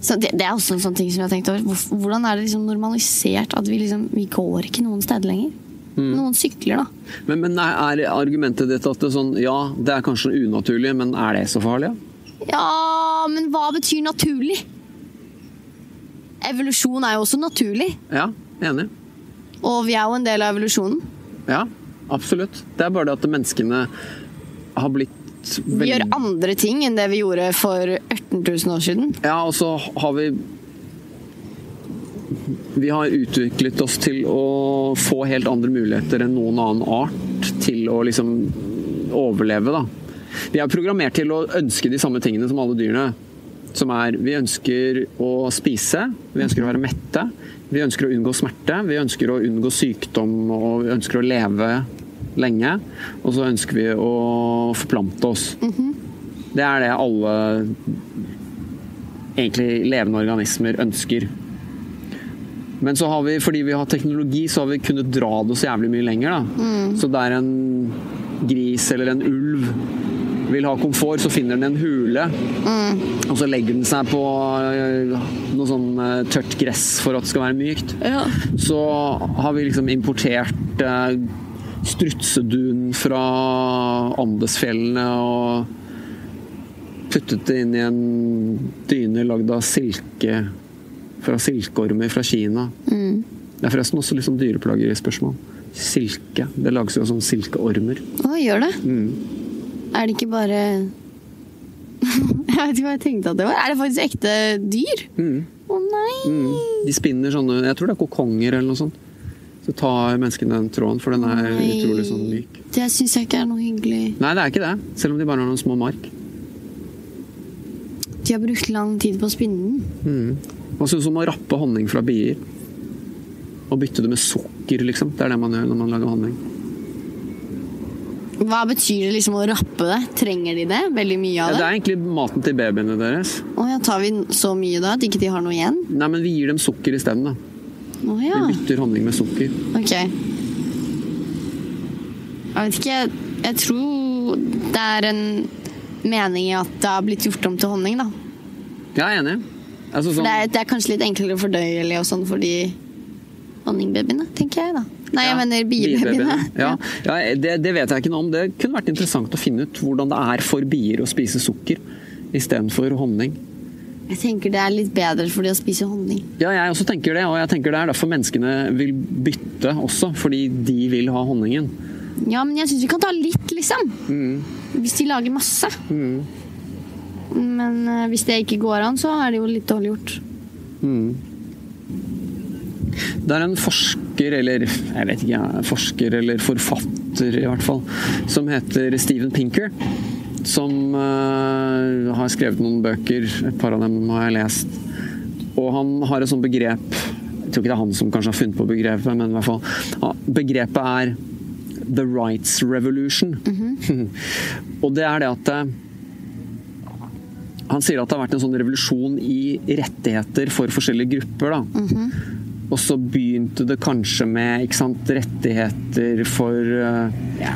Så det, det er også en sånn ting som jeg har tenkt over. Hvorf- Hvordan er det liksom normalisert at vi liksom Vi går ikke noen steder lenger? Noen sykler, da.
Men, men er er argumentet ditt at det er sånn, ja, det er kanskje unaturlig, men er det så farlig? ja?
Ja, men hva betyr naturlig? Evolusjon er jo også naturlig,
Ja, enig.
og vi er jo en del av evolusjonen.
Ja, absolutt. Det er bare det at menneskene har blitt
Vi
veldig
gjør andre ting enn det vi gjorde for 18 000 år siden.
Ja, og så har vi Vi har utviklet oss til å få helt andre muligheter enn noen annen art til å liksom overleve, da. Vi er programmert til å ønske de samme tingene som alle dyrene. Som er Vi ønsker å spise, vi ønsker å være mette, vi ønsker å unngå smerte, vi ønsker å unngå sykdom og vi ønsker å leve lenge. Og så ønsker vi å forplante oss. Det er det alle egentlig levende organismer ønsker. Men så har vi, fordi vi har teknologi, så har vi kunnet dra det så jævlig mye lenger. Da. Så der en gris eller en ulv vil ha komfort, så finner den en hule. Og så legger den seg på øh, noe sånn øh, tørt gress for at det skal være mykt. Så har vi liksom importert eh, strutsedun fra Andesfjellene og puttet det inn i en dyne lagd av silke fra silkeormer fra Kina. Det er forresten også litt sånn dyreplager i spørsmål. Silke. Det lages jo av sånn silkeormer.
Å, gjør det? Er det ikke bare Jeg vet ikke hva jeg tenkte at det var. Er det faktisk ekte dyr?
Mm.
Å nei!
De spinner sånne Jeg tror det er kokonger eller noe sånt. Så tar menneskene den tråden, for den er
Nei.
utrolig sånn myk.
Det syns jeg ikke er noe hyggelig.
Nei, det er ikke det. Selv om de bare har noen små mark.
De har brukt lang tid på å spinne den.
Mm. Hva syns du om å rappe honning fra bier? Og bytte det med sukker, liksom. Det er det man gjør når man lager honning.
Hva betyr det liksom å rappe det? Trenger de det? Veldig mye
Ja,
av
det
det?
er egentlig maten til babyene deres.
Å ja, tar vi så mye da at ikke de har noe igjen?
Nei, men vi gir dem sukker isteden, da.
Å ja.
Vi bytter honning med sukker.
Ok. Jeg vet ikke, jeg, jeg tror det er en mening i at det har blitt gjort om til honning, da.
Jeg er enig. Altså,
For
sånn,
det er, det er kanskje litt enklere fordøyelig og sånn for de honningbabyene, tenker jeg, da. Nei, jeg
ja,
mener biebabyene.
Ja, ja det, det vet jeg ikke noe om. Det kunne vært interessant å finne ut hvordan det er for bier å spise sukker istedenfor honning.
Jeg tenker det er litt bedre for de å spise honning.
Ja, jeg også tenker det, og jeg tenker det er derfor menneskene vil bytte også. Fordi de vil ha honningen.
Ja, men jeg syns vi kan ta litt, liksom. Hvis de lager masse. Mm. Men eh, hvis det ikke går an, så er det jo litt dårlig gjort.
Det er en forsker, eller jeg vet ikke, forsker eller forfatter i hvert fall, som heter Steven Pinker. Som eh, har skrevet noen bøker, et par av dem har jeg lest. Og han har et sånt begrep Jeg tror ikke det er han som kanskje har funnet på begrepet, men i hvert fall. ja, Begrepet er 'the rights revolution'. og det er det at eh, han sier at det har vært en sånn revolusjon i rettigheter for forskjellige grupper. da. Og så begynte det kanskje med ikke sant, rettigheter for eh, ja.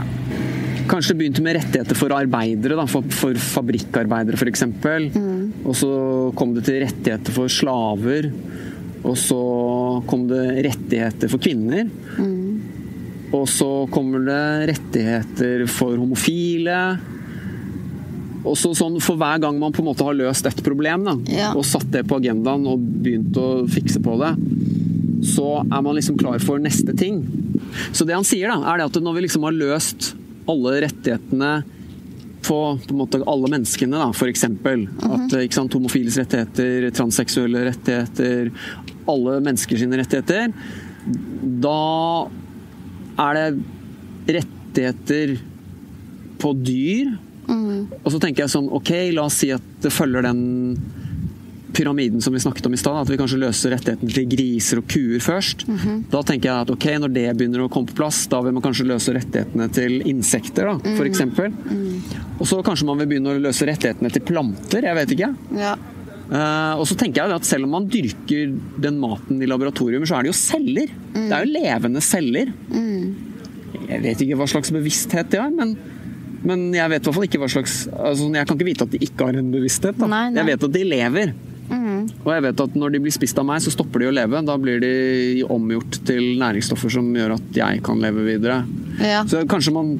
Kanskje det begynte med rettigheter for arbeidere, da, for, for fabrikkarbeidere f.eks. Og så kom det til rettigheter for slaver. Og så kom det rettigheter for kvinner. Og så kommer det rettigheter for homofile. Og så sånn For hver gang man på en måte har løst et problem da,
Ja.
og satt det på agendaen og begynt å fikse på det, så er man liksom klar for neste ting. Så det han sier, da, er det at når vi liksom har løst alle rettighetene på, på en måte alle menneskene, da, for eksempel. At ikke sant, homofiles rettigheter, transseksuelle rettigheter, alle menneskers rettigheter. Da er det rettigheter på dyr. Og så tenker jeg sånn, ok, la oss si at det følger den pyramiden som vi snakket om i stad, at vi kanskje løser rettighetene til griser og kuer først. Da tenker jeg at ok, når det begynner å komme på plass, da vil man kanskje løse rettighetene til insekter, da, for eksempel. Og så kanskje man vil begynne å løse rettighetene til planter, jeg vet ikke.
Ja.
Eh, og så tenker jeg at selv om man dyrker den maten i laboratorium, så er det jo celler.
Mm.
Det er jo levende celler. Jeg vet ikke hva slags bevissthet de har, men, men jeg vet i hvert fall ikke hva slags altså, Jeg kan ikke vite at de ikke har en bevissthet. Da.
Nei, nei.
Jeg vet at de lever.
Mhm.
Og jeg vet at når de blir spist av meg, så stopper de å leve. Da blir de omgjort til næringsstoffer som gjør at jeg kan leve videre.
ja.
Så kanskje man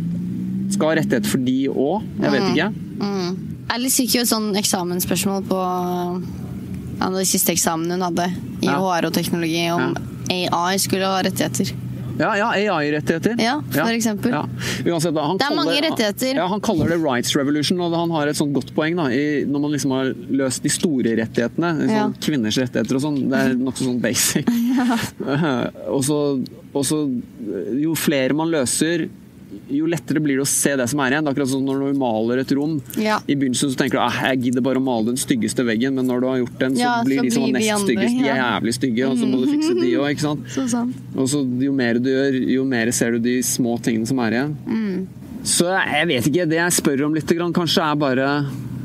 skal ha rettighet for de òg. Jeg vet ikke.
Mm. Alice fikk jo et sånn eksamensspørsmål på en av de siste eksamene hun hadde i
Ja.
HR og teknologi, om AI skulle ha rettigheter.
Ja, ja AI-rettigheter.
Ja, for eksempel.
Ja. Uansett, da, han
Det er
kaller-
mange rettigheter.
Ja, han kaller det rights revolution, og han har et sånt godt poeng da, i, når man liksom har løst de store rettighetene. Sånn
Ja.
Kvinners rettigheter og sånn. Det er nokså sånn basic. og, så, og så Jo flere man løser, jo lettere blir det å se det som er igjen. Det er akkurat sånn når du maler et rom.
Ja.
I begynnelsen så tenker du at jeg gidder bare å male den styggeste veggen, men når du har gjort den, så
Ja,
blir
så
de som var
blir de
nest
andre,
styggest, de er
ja.
jævlig stygge, og så må du fikse de òg, ikke sant.
Så sånn. sant.
Og så Jo mer du gjør, jo mer ser du de små tingene som er igjen. Så jeg vet ikke. Det jeg spør om litt, grann, kanskje er bare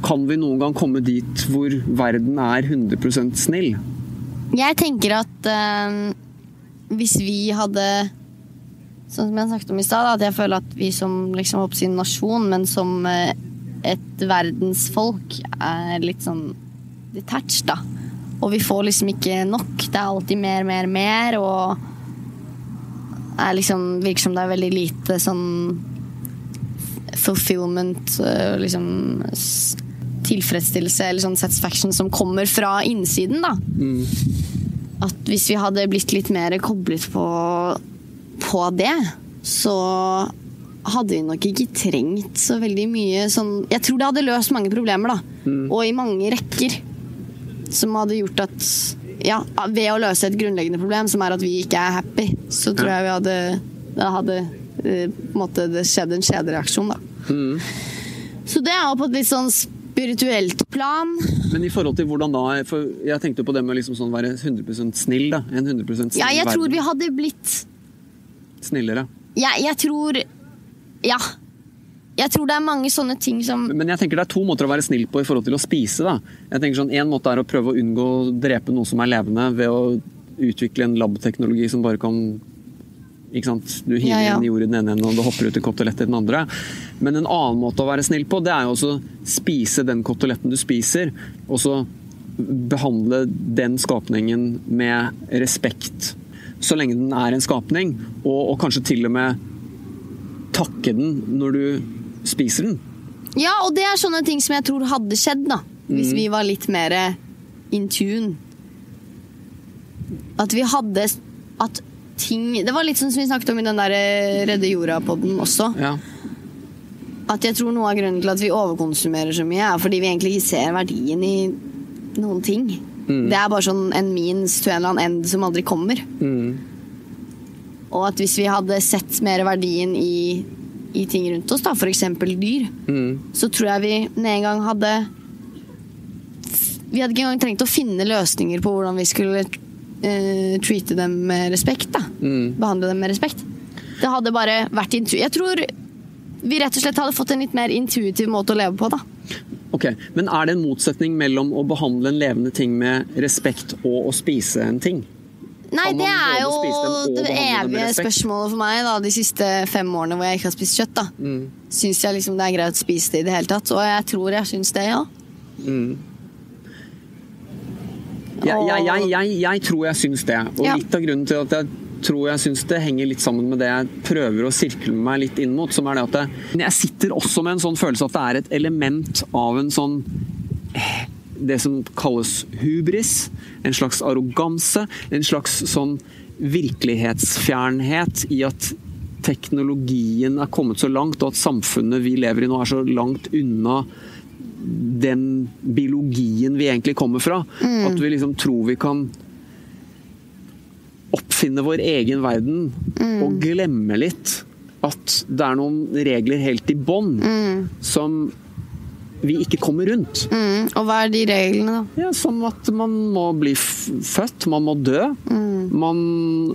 Kan vi noen gang komme dit hvor verden er 100 snill?
Jeg tenker at eh, hvis vi hadde Sånn som jeg snakket om i stad, da, at jeg føler at vi som liksom, håper å si nasjon, men som eh, et verdensfolk, er litt sånn detached, da. Og vi får liksom ikke nok. Det er alltid mer, mer, mer, og er liksom, virker som det er veldig lite sånn fulfillment eh, liksom, s- tilfredsstillelse eller sånn satisfaction som kommer fra innsiden, da at hvis vi hadde blitt litt mer koblet på, på det, så hadde vi nok ikke trengt så veldig mye sånn Jeg tror det hadde løst mange problemer, da. Og i mange rekker. Som hadde gjort at Ja, ved å løse et grunnleggende problem, som er at vi ikke er happy, så tror jeg vi hadde Da hadde eh, på en måte, det skjedd en kjedereaksjon, da. Så det er jo på et litt sånn spirituelt plan.
Men i forhold til hvordan da For jeg tenkte jo på det med liksom sånn være 100 snill, da. En 100 snill
Ja, jeg tror
verden.
vi hadde blitt
Snillere.
jeg, jeg tror Ja. Jeg tror det er mange sånne ting som
Men jeg tenker det er to måter å være snill på i forhold til å spise. da. Jeg tenker sånn, En måte er å prøve å unngå å drepe noe som er levende, ved å utvikle en labteknologi som bare kan ikke sant? Du hiver
Ja, ja.
inn jord i den ene enden, og det hopper ut en kotelett i den andre. Men en annen måte å være snill på, det er jo også spise den koteletten du spiser, og så behandle den skapningen med respekt. Så lenge den er en skapning, og, og kanskje til og med takke den når du spiser den.
Ja, og det er sånne ting som jeg tror hadde skjedd, da. Hvis vi var litt mer in tune. At vi hadde At ting Det var litt sånn som vi snakket om i den der eh, Redde jorda-podden også.
Ja.
At jeg tror noe av grunnen til at vi overkonsumerer så mye, er fordi vi egentlig ikke ser verdien i noen ting. Det er bare sånn en means to en eller annen end som aldri kommer.
Mm.
Og at hvis vi hadde sett mer verdien i, i ting rundt oss, da, f.eks. dyr,
Mm.
så tror jeg vi med en gang hadde Vi hadde ikke engang trengt å finne løsninger på hvordan vi skulle eh, treate dem med respekt. da
Mm.
Behandle dem med respekt. Det hadde bare vært intu... Jeg tror vi rett og slett hadde fått en litt mer intuitiv måte å leve på, da.
Ok, Men er det en motsetning mellom å behandle en levende ting med respekt og å spise en ting?
Nei,
Kan man
det er
både
jo
spise dem og
det
behandle dem med
evige
respekt?
spørsmålet for meg da, de siste fem årene hvor jeg ikke har spist kjøtt. da
Mm.
Syns jeg liksom det er greit å spise det i det hele tatt. Og jeg tror jeg syns det, ja.
Jeg, jeg, jeg,
Og-
jeg, jeg tror jeg syns det. Og
Ja.
litt av grunnen til at jeg tror jeg syns det henger litt sammen med det jeg prøver å sirkle meg litt inn mot, som er det at jeg, Men jeg sitter også med en sånn følelse at det er et element av en sånn eh, Det som kalles hubris. En slags arroganse. En slags sånn virkelighetsfjernhet i at teknologien er kommet så langt, og at samfunnet vi lever i nå er så langt unna den biologien vi egentlig kommer fra. At vi liksom tror vi kan oppfinne vår egen verden og glemme litt at det er noen regler helt i bånn som vi ikke kommer rundt.
Mm, og hva er de reglene, da?
Ja, som at man må bli f født, man må dø. Man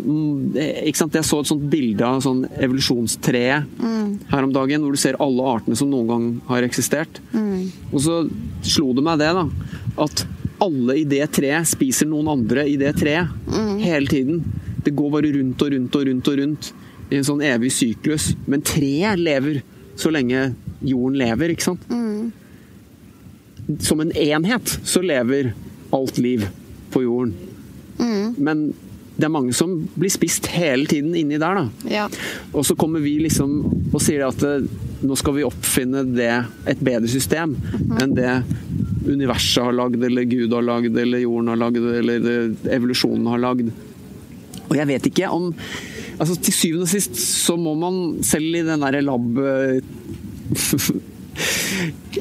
mm, Ikke sant, jeg så et sånt bilde av sånn evolusjonstreet her om dagen, hvor du ser alle artene som noen gang har eksistert. Og så slo det meg det, da. At alle i det treet spiser noen andre i det treet. Hele tiden. Det går bare rundt og rundt og rundt og rundt i en sånn evig syklus. Men treet lever så lenge jorden lever, ikke sant? Som en enhet så lever alt liv på jorden. Men det er mange som blir spist hele tiden inni der, da.
Ja.
Og så kommer vi liksom og sier at eh, nå skal vi oppfinne det, et bedre system enn det universet har lagd, eller Gud har lagd, eller jorden har lagd, eller det evolusjonen har lagd. Og jeg vet ikke om altså Til syvende og sist så må man, selv i den derre lab...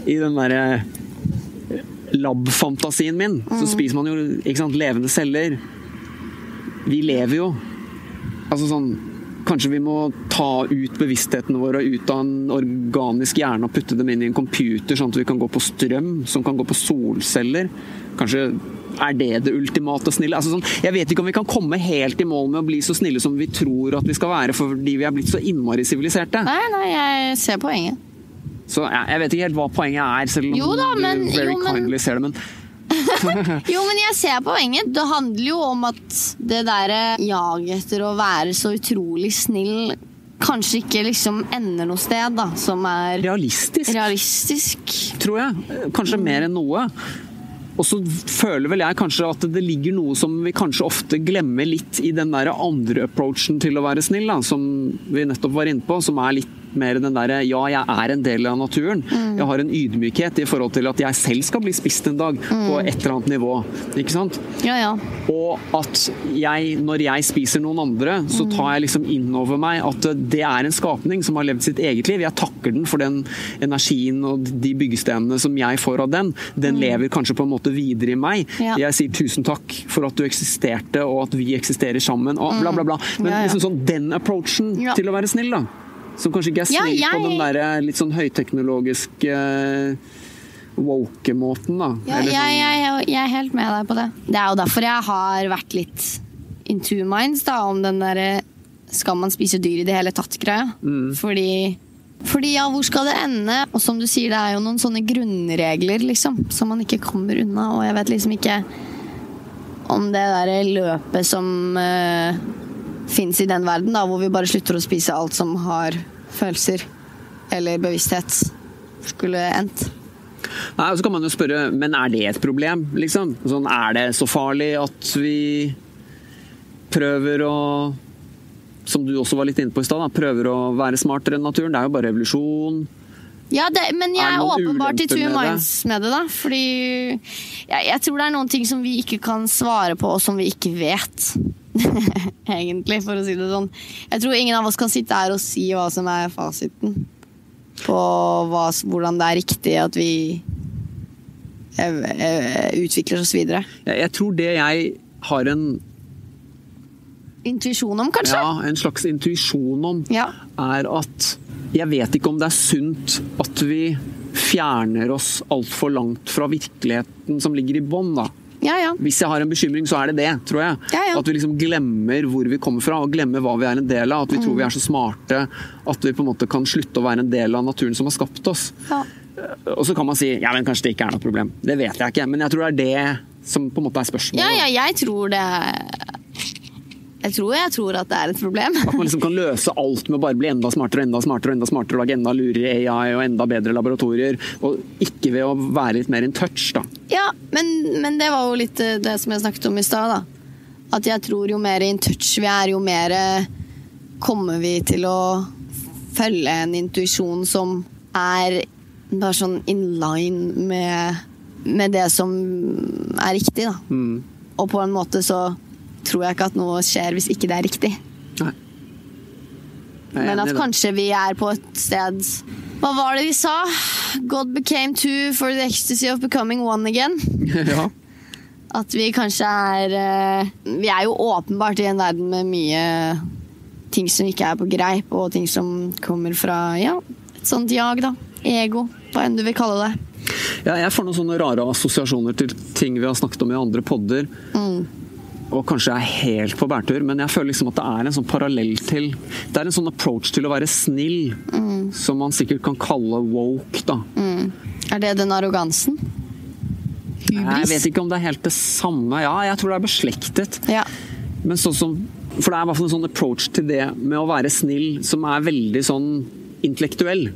I den derre lab-fantasien min, så spiser man jo ikke sant, levende celler. Vi lever jo. Altså sånn Kanskje vi må ta ut bevisstheten vår og ut av en organisk hjerne og putte dem inn i en computer, sånn at vi kan gå på strøm, som kan gå på solceller. Kanskje er det det ultimate snille? Altså sånn, jeg vet ikke om vi kan komme helt i mål med å bli så snille som vi tror at vi skal være fordi vi er blitt så innmari siviliserte.
Nei, nei, jeg ser poenget.
Så ja, jeg vet ikke helt hva poenget er, selv om
Jo da, men-
du very
jo, men-
kindly ser det. Men
Jo, men jeg ser poenget. Det handler jo om at det derre jaget etter å være så utrolig snill kanskje ikke liksom ender noe sted, da, som er
realistisk
realistisk.
tror jeg. Kanskje mer enn noe. Og så føler vel jeg kanskje at det ligger noe som vi kanskje ofte glemmer litt i den der andre approachen til å være snill, da, som vi nettopp var inne på, som er litt mer den derre ja, jeg er en del av naturen.
Mm.
Jeg har en ydmykhet i forhold til at jeg selv skal bli spist en dag på
Mm.
et eller annet nivå. Ikke sant?
Ja, ja.
Og at jeg, når jeg spiser noen andre, så
Mm.
tar jeg liksom inn over meg at det er en skapning som har levd sitt eget liv. Jeg takker den for den energien og de byggestenene som jeg får av den. Den lever kanskje på en måte videre i meg.
Mm. Ja.
Jeg sier tusen takk for at du eksisterte, og at vi eksisterer sammen, og bla, bla, bla. Men
Mm. Ja, ja.
liksom sånn den approachen
Ja.
til å være snill, da. Som kanskje ikke er
Ja,
snill på
jeg-
den derre litt sånn høyteknologiske eh, woke-måten, da.
Ja,
Eller
jeg,
sånn-
jeg, jeg er helt med deg på det. Det er jo derfor jeg har vært litt in two minds da, om den derre skal man spise dyr i det hele tatt-greia.
Mm.
Fordi, fordi ja, hvor skal det ende? Og som du sier, det er jo noen sånne grunnregler liksom, som man ikke kommer unna. Og jeg vet liksom ikke om det derre løpet som uh, fins i den verden, da, hvor vi bare slutter å spise alt som har følelser eller bevissthet, skulle endt.
Nei, og så kan man jo spørre, men er det et problem, liksom? Sånn, er det så farlig at vi prøver å Som du også var litt inne på i stad, da, prøver å være smartere enn naturen. Det er jo bare evolusjon.
Ja, det, men jeg
Er det
er
noen
åpenbart i
ulemper
two
med det?
minds med det, da. Fordi jeg, jeg tror det er noen ting som vi ikke kan svare på, og som vi ikke vet. Egentlig, for å si det sånn. Jeg tror ingen av oss kan sitte her og si hva som er fasiten. På hva, s- hvordan det er riktig at vi ev, ev, utvikler oss videre.
Jeg, jeg tror det jeg har en,
Intuisjon om, kanskje?
ja, en slags intuisjon om,
Ja.
er at jeg vet ikke om det er sunt at vi fjerner oss altfor langt fra virkeligheten som ligger i bånn, da.
Ja, ja.
Hvis jeg har en bekymring, så er det det, tror jeg.
Ja, ja.
At vi liksom glemmer hvor vi kommer fra, og glemmer hva vi er en del av. At vi
Mm.
tror vi er så smarte at vi på en måte kan slutte å være en del av naturen som har skapt oss.
ja.
Og så kan man si ja, men kanskje det ikke er noe problem. Det vet jeg ikke, men jeg tror det er det som på en måte er spørsmålet.
ja, ja jeg tror det Jeg tror jeg tror at det er et problem.
At man liksom kan løse alt med å bare bli enda smartere og enda smartere og enda smartere, og lage enda lurere AI og enda bedre laboratorier. Og ikke ved å være litt mer in touch, da.
Ja, men, men det var jo litt eh, det som jeg snakket om i stad, da. At jeg tror jo mer in touch vi er, jo mer eh, kommer vi til å følge en intuisjon som er bare sånn in line med, med det som er riktig, da.
Mm.
Og på en måte så tror jeg ikke at noe skjer hvis ikke det er riktig.
Nei. Jeg er enig
Men at
i det.
kanskje vi er på et sted Hva var det de sa? God became two for the ecstasy of becoming one again.
ja.
At vi kanskje er eh, Vi er jo åpenbart i en verden med mye ting som ikke er på greip, og ting som kommer fra ja, et sånt jag, da. Ego. Hva enn du vil kalle det.
Ja, jeg får noen sånne rare assosiasjoner til ting vi har snakket om i andre podder. Og kanskje jeg er helt på bærtur, men jeg føler liksom at det er en sånn parallell til Det er en sånn approach til å være snill, som man sikkert kan kalle woke, da.
Er det den arrogansen?
Jeg vet ikke om det er helt det samme. Ja, jeg tror det er beslektet.
Ja.
Men sånn som For det er i hvert fall en sånn approach til det med å være snill som er veldig sånn intellektuell.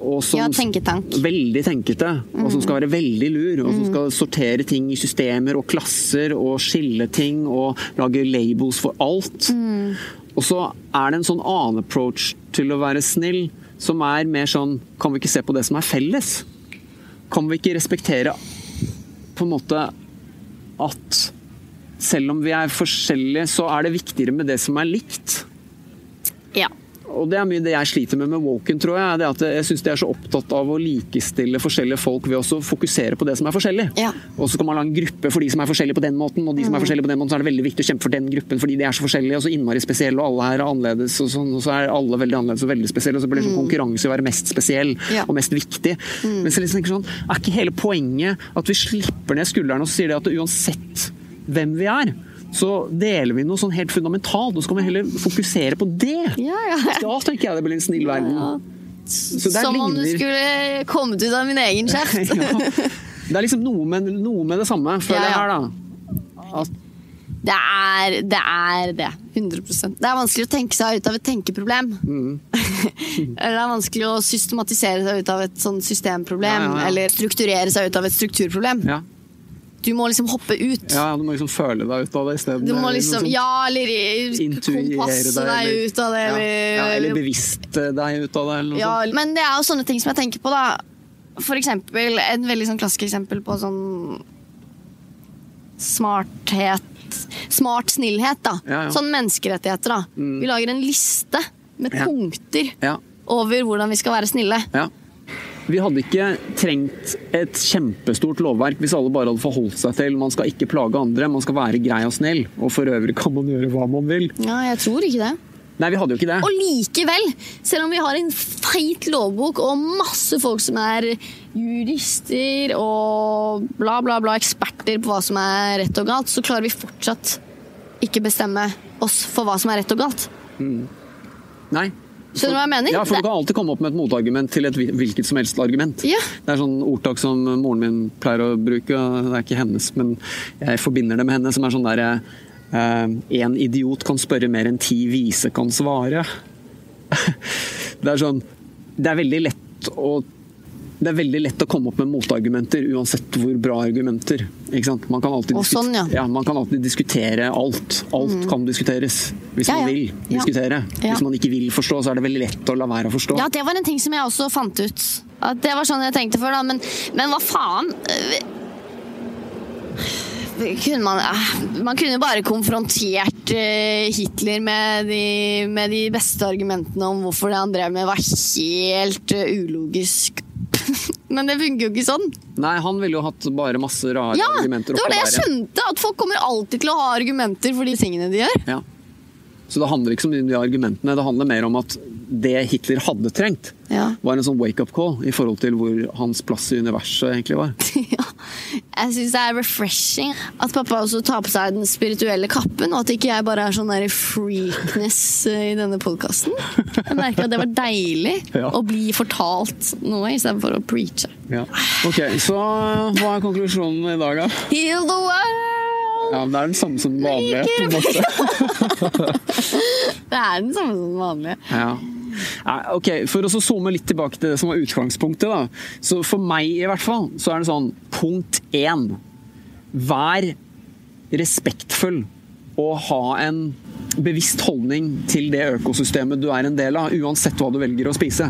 Og som,
Mm. Ja, tenketank. Mm.
Veldig tenkete. Og som skal være veldig lur. Og som skal sortere ting i systemer og klasser og skille ting og lage labels for alt.
Mm.
Og så er det en sånn annen approach til å være snill som er mer sånn Kan vi ikke se på det som er felles? Kan vi ikke respektere på en måte at selv om vi er forskjellige, så er det viktigere med det som er likt.
ja.
Og det er mye det jeg sliter med med Woken, tror jeg. Det er at jeg syns de er så opptatt av å likestille forskjellige folk ved også å fokusere på det som er forskjellig.
Ja. Mm.
Og så kan man la en gruppe for de som er forskjellige på den måten, og de som er forskjellige på den måten, så er det veldig viktig å kjempe for den gruppen fordi de er så forskjellige og så innmari spesielle, og alle her er annerledes, og sånn, og så er alle veldig annerledes og veldig spesielle, og så blir det sånn konkurranse i å være mest spesiell
Mm. Ja. Mm.
og mest viktig. Men så liksom tenker jeg sånn, er ikke hele poenget at vi slipper ned skuldrene og så sier det at uansett hvem vi er, så deler vi noe sånn helt fundamentalt, og så kan vi heller fokusere på det.
Ja, ja.
Da tenker jeg det blir en snill verden. Så der
Som om du
ligner-
skulle kommet ut av min egen kjeft.
Ja. Det er liksom noe med, noe med det samme, føler
Ja,
jeg
ja.
her, da.
Det er det. er det. 100 Det er vanskelig å tenke seg ut av et tenkeproblem.
Mm.
eller det er vanskelig å systematisere seg ut av et sånn systemproblem.
Ja, ja, ja.
Eller strukturere seg ut av et strukturproblem.
Ja.
Du må liksom hoppe ut.
ja, du må liksom føle deg ut av det isteden.
Du må
eller noe
liksom,
sånt.
ja, eller
Intuiere
kompasse deg
eller-
ut av det.
Ja.
Eller,
Ja, eller bevisst deg ut av det, eller noe
Ja,
sånt.
men det er jo sånne ting som jeg tenker på, da. For eksempel, en veldig sånn klassisk eksempel på sånn smarthet Smart snillhet, da.
Ja, ja.
Sånn menneskerettigheter, da. Vi lager en liste med
Ja.
punkter
Ja.
over hvordan vi skal være snille.
ja. Vi hadde ikke trengt et kjempestort lovverk hvis alle bare hadde forholdt seg til man skal ikke plage andre, man skal være grei og snill. Og for øvrig kan man gjøre hva man vil.
Ja, jeg tror ikke det.
Nei, vi hadde jo ikke det.
Og likevel, selv om vi har en feit lovbok og masse folk som er jurister og bla, bla, bla, eksperter på hva som er rett og galt, så klarer vi fortsatt ikke bestemme oss for hva som er rett og galt.
Nei.
Skjønner du hva jeg mener?
Ja, for Du
Det-
kan alltid komme opp med et motargument til et hvil- hvilket som helst argument.
Ja.
Det er sånn ordtak som moren min pleier å bruke, og det er ikke hennes, men jeg forbinder det med henne, som er sånn derre Én idiot kan spørre mer enn ti vise kan svare. Det er sånn Det er veldig lett å det er veldig lett å komme opp med motargumenter, uansett hvor bra argumenter. Ikke sant? Man kan alltid,
Å,
diskut-
sånn, ja. Mm.
man kan alltid diskutere alt. Alt kan diskuteres, hvis
Ja,
man
ja.
vil
Ja.
diskutere.
Ja.
Hvis man ikke vil forstå, så er det veldig lett å la være å forstå.
Ja, det var en ting som jeg også fant ut. At det var sånn jeg tenkte før, da. Men, men hva faen? Eh, Kunne man, eh, man kunne jo bare konfrontert eh, Hitler med de, med de beste argumentene om hvorfor det han drev med, var helt eh, ulogisk. men det funker jo ikke sånn.
Nei, han ville jo hatt bare masse rare
Ja,
argumenter.
Det var
oppå
det jeg
der,
skjønte! At folk kommer alltid til å ha argumenter for de tingene de gjør.
ja. Så det handler ikke så mye om de argumentene, det handler mer om at det Hitler hadde trengt,
Ja.
var en sånn wake-up call i forhold til hvor hans plass i universet egentlig var.
Ja. Jeg syns det er refreshing at pappa også tar på seg den spirituelle kappen, og at ikke jeg bare er sånn der freakness eh, i denne podkasten. Jeg merker at det var deilig
Ja.
å bli fortalt noe istedenfor å preache.
Ja. Ok, så hva er konklusjonen i dag, da?
Heal the world!
Ja, men det er den samme som vanlig. på en måte.
Det er den samme som den vanlige.
Ja. Nei, ok, For å så zoome litt tilbake til det som var utgangspunktet, da. så for meg i hvert fall, så er det sånn punkt én Vær respektfull og ha en bevisst holdning til det økosystemet du er en del av, uansett hva du velger å spise.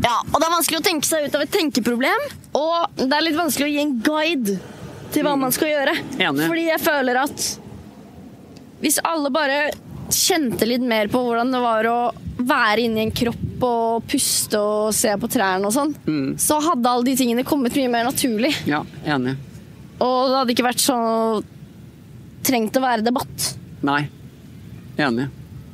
Ja, og det er vanskelig å tenke seg ut av et tenkeproblem, og det er litt vanskelig å gi en guide til hva man skal gjøre.
Enig.
Fordi jeg føler at hvis alle bare kjente litt mer på hvordan det var å være inni en kropp og puste og se på trærne og sånn, så hadde alle de tingene kommet mye mer naturlig.
Ja, enig.
Og det hadde ikke vært så trengt å være debatt.
Nei. Enig.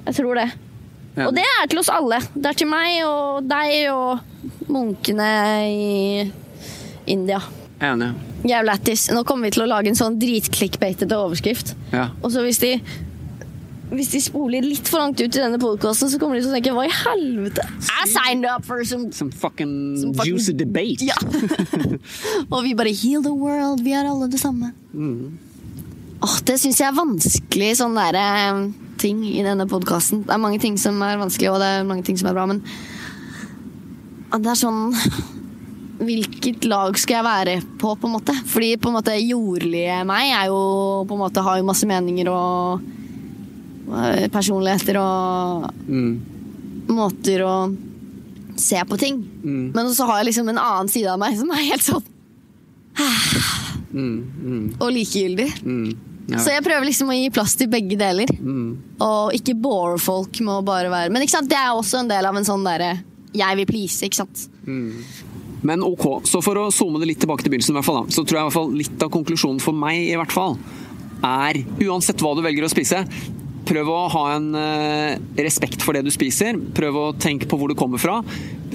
Jeg tror det.
enig.
Og det er til oss alle. Det er til meg og deg og munkene i India.
Enig.
Jævlig lættis. Nå kommer vi til å lage en sånn dritklikkbeitete overskrift.
Ja.
Og så hvis de hvis de spoler litt for langt ut i denne podkasten, så kommer de til å tenke Hva i helvete? I signed up for some
Some fucking,
Some fucking-
juicy debate.
Ja. og vi bare Heal the world. Vi er alle det samme. Åh, det syns jeg er vanskelig, sånne der, eh, ting i denne podkasten. Det er mange ting som er vanskelig, og det er mange ting som er bra, men Ah, det er sånn Hvilket lag skal jeg være på, på en måte? Fordi på en måte jordlige meg er jo på en måte har jo masse meninger og eh, personligheter og
Mm.
måter å se på ting.
Mm.
Men så har jeg liksom en annen side av meg som er helt sånn
Mm. Mm.
og likegyldig.
Mm. Ja.
Så jeg prøver liksom å gi plass til begge deler.
Mm.
Og ikke bore folk med å bare være Men ikke sant, det er også en del av en sånn derre jeg vil please, ikke sant.
Men ok, så for å zoome det litt tilbake til begynnelsen, i hvert fall, da, så tror jeg i hvert fall litt av konklusjonen for meg i hvert fall, er uansett hva du velger å spise, prøv å ha en eh, respekt for det du spiser. Prøv å tenke på hvor du kommer fra.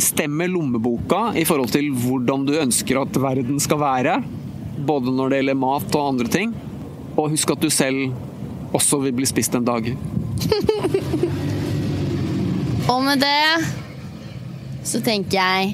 Stemme lommeboka i forhold til hvordan du ønsker at verden skal være. Både når det gjelder mat og andre ting. Og husk at du selv også vil bli spist en dag.
Og med det så tenker jeg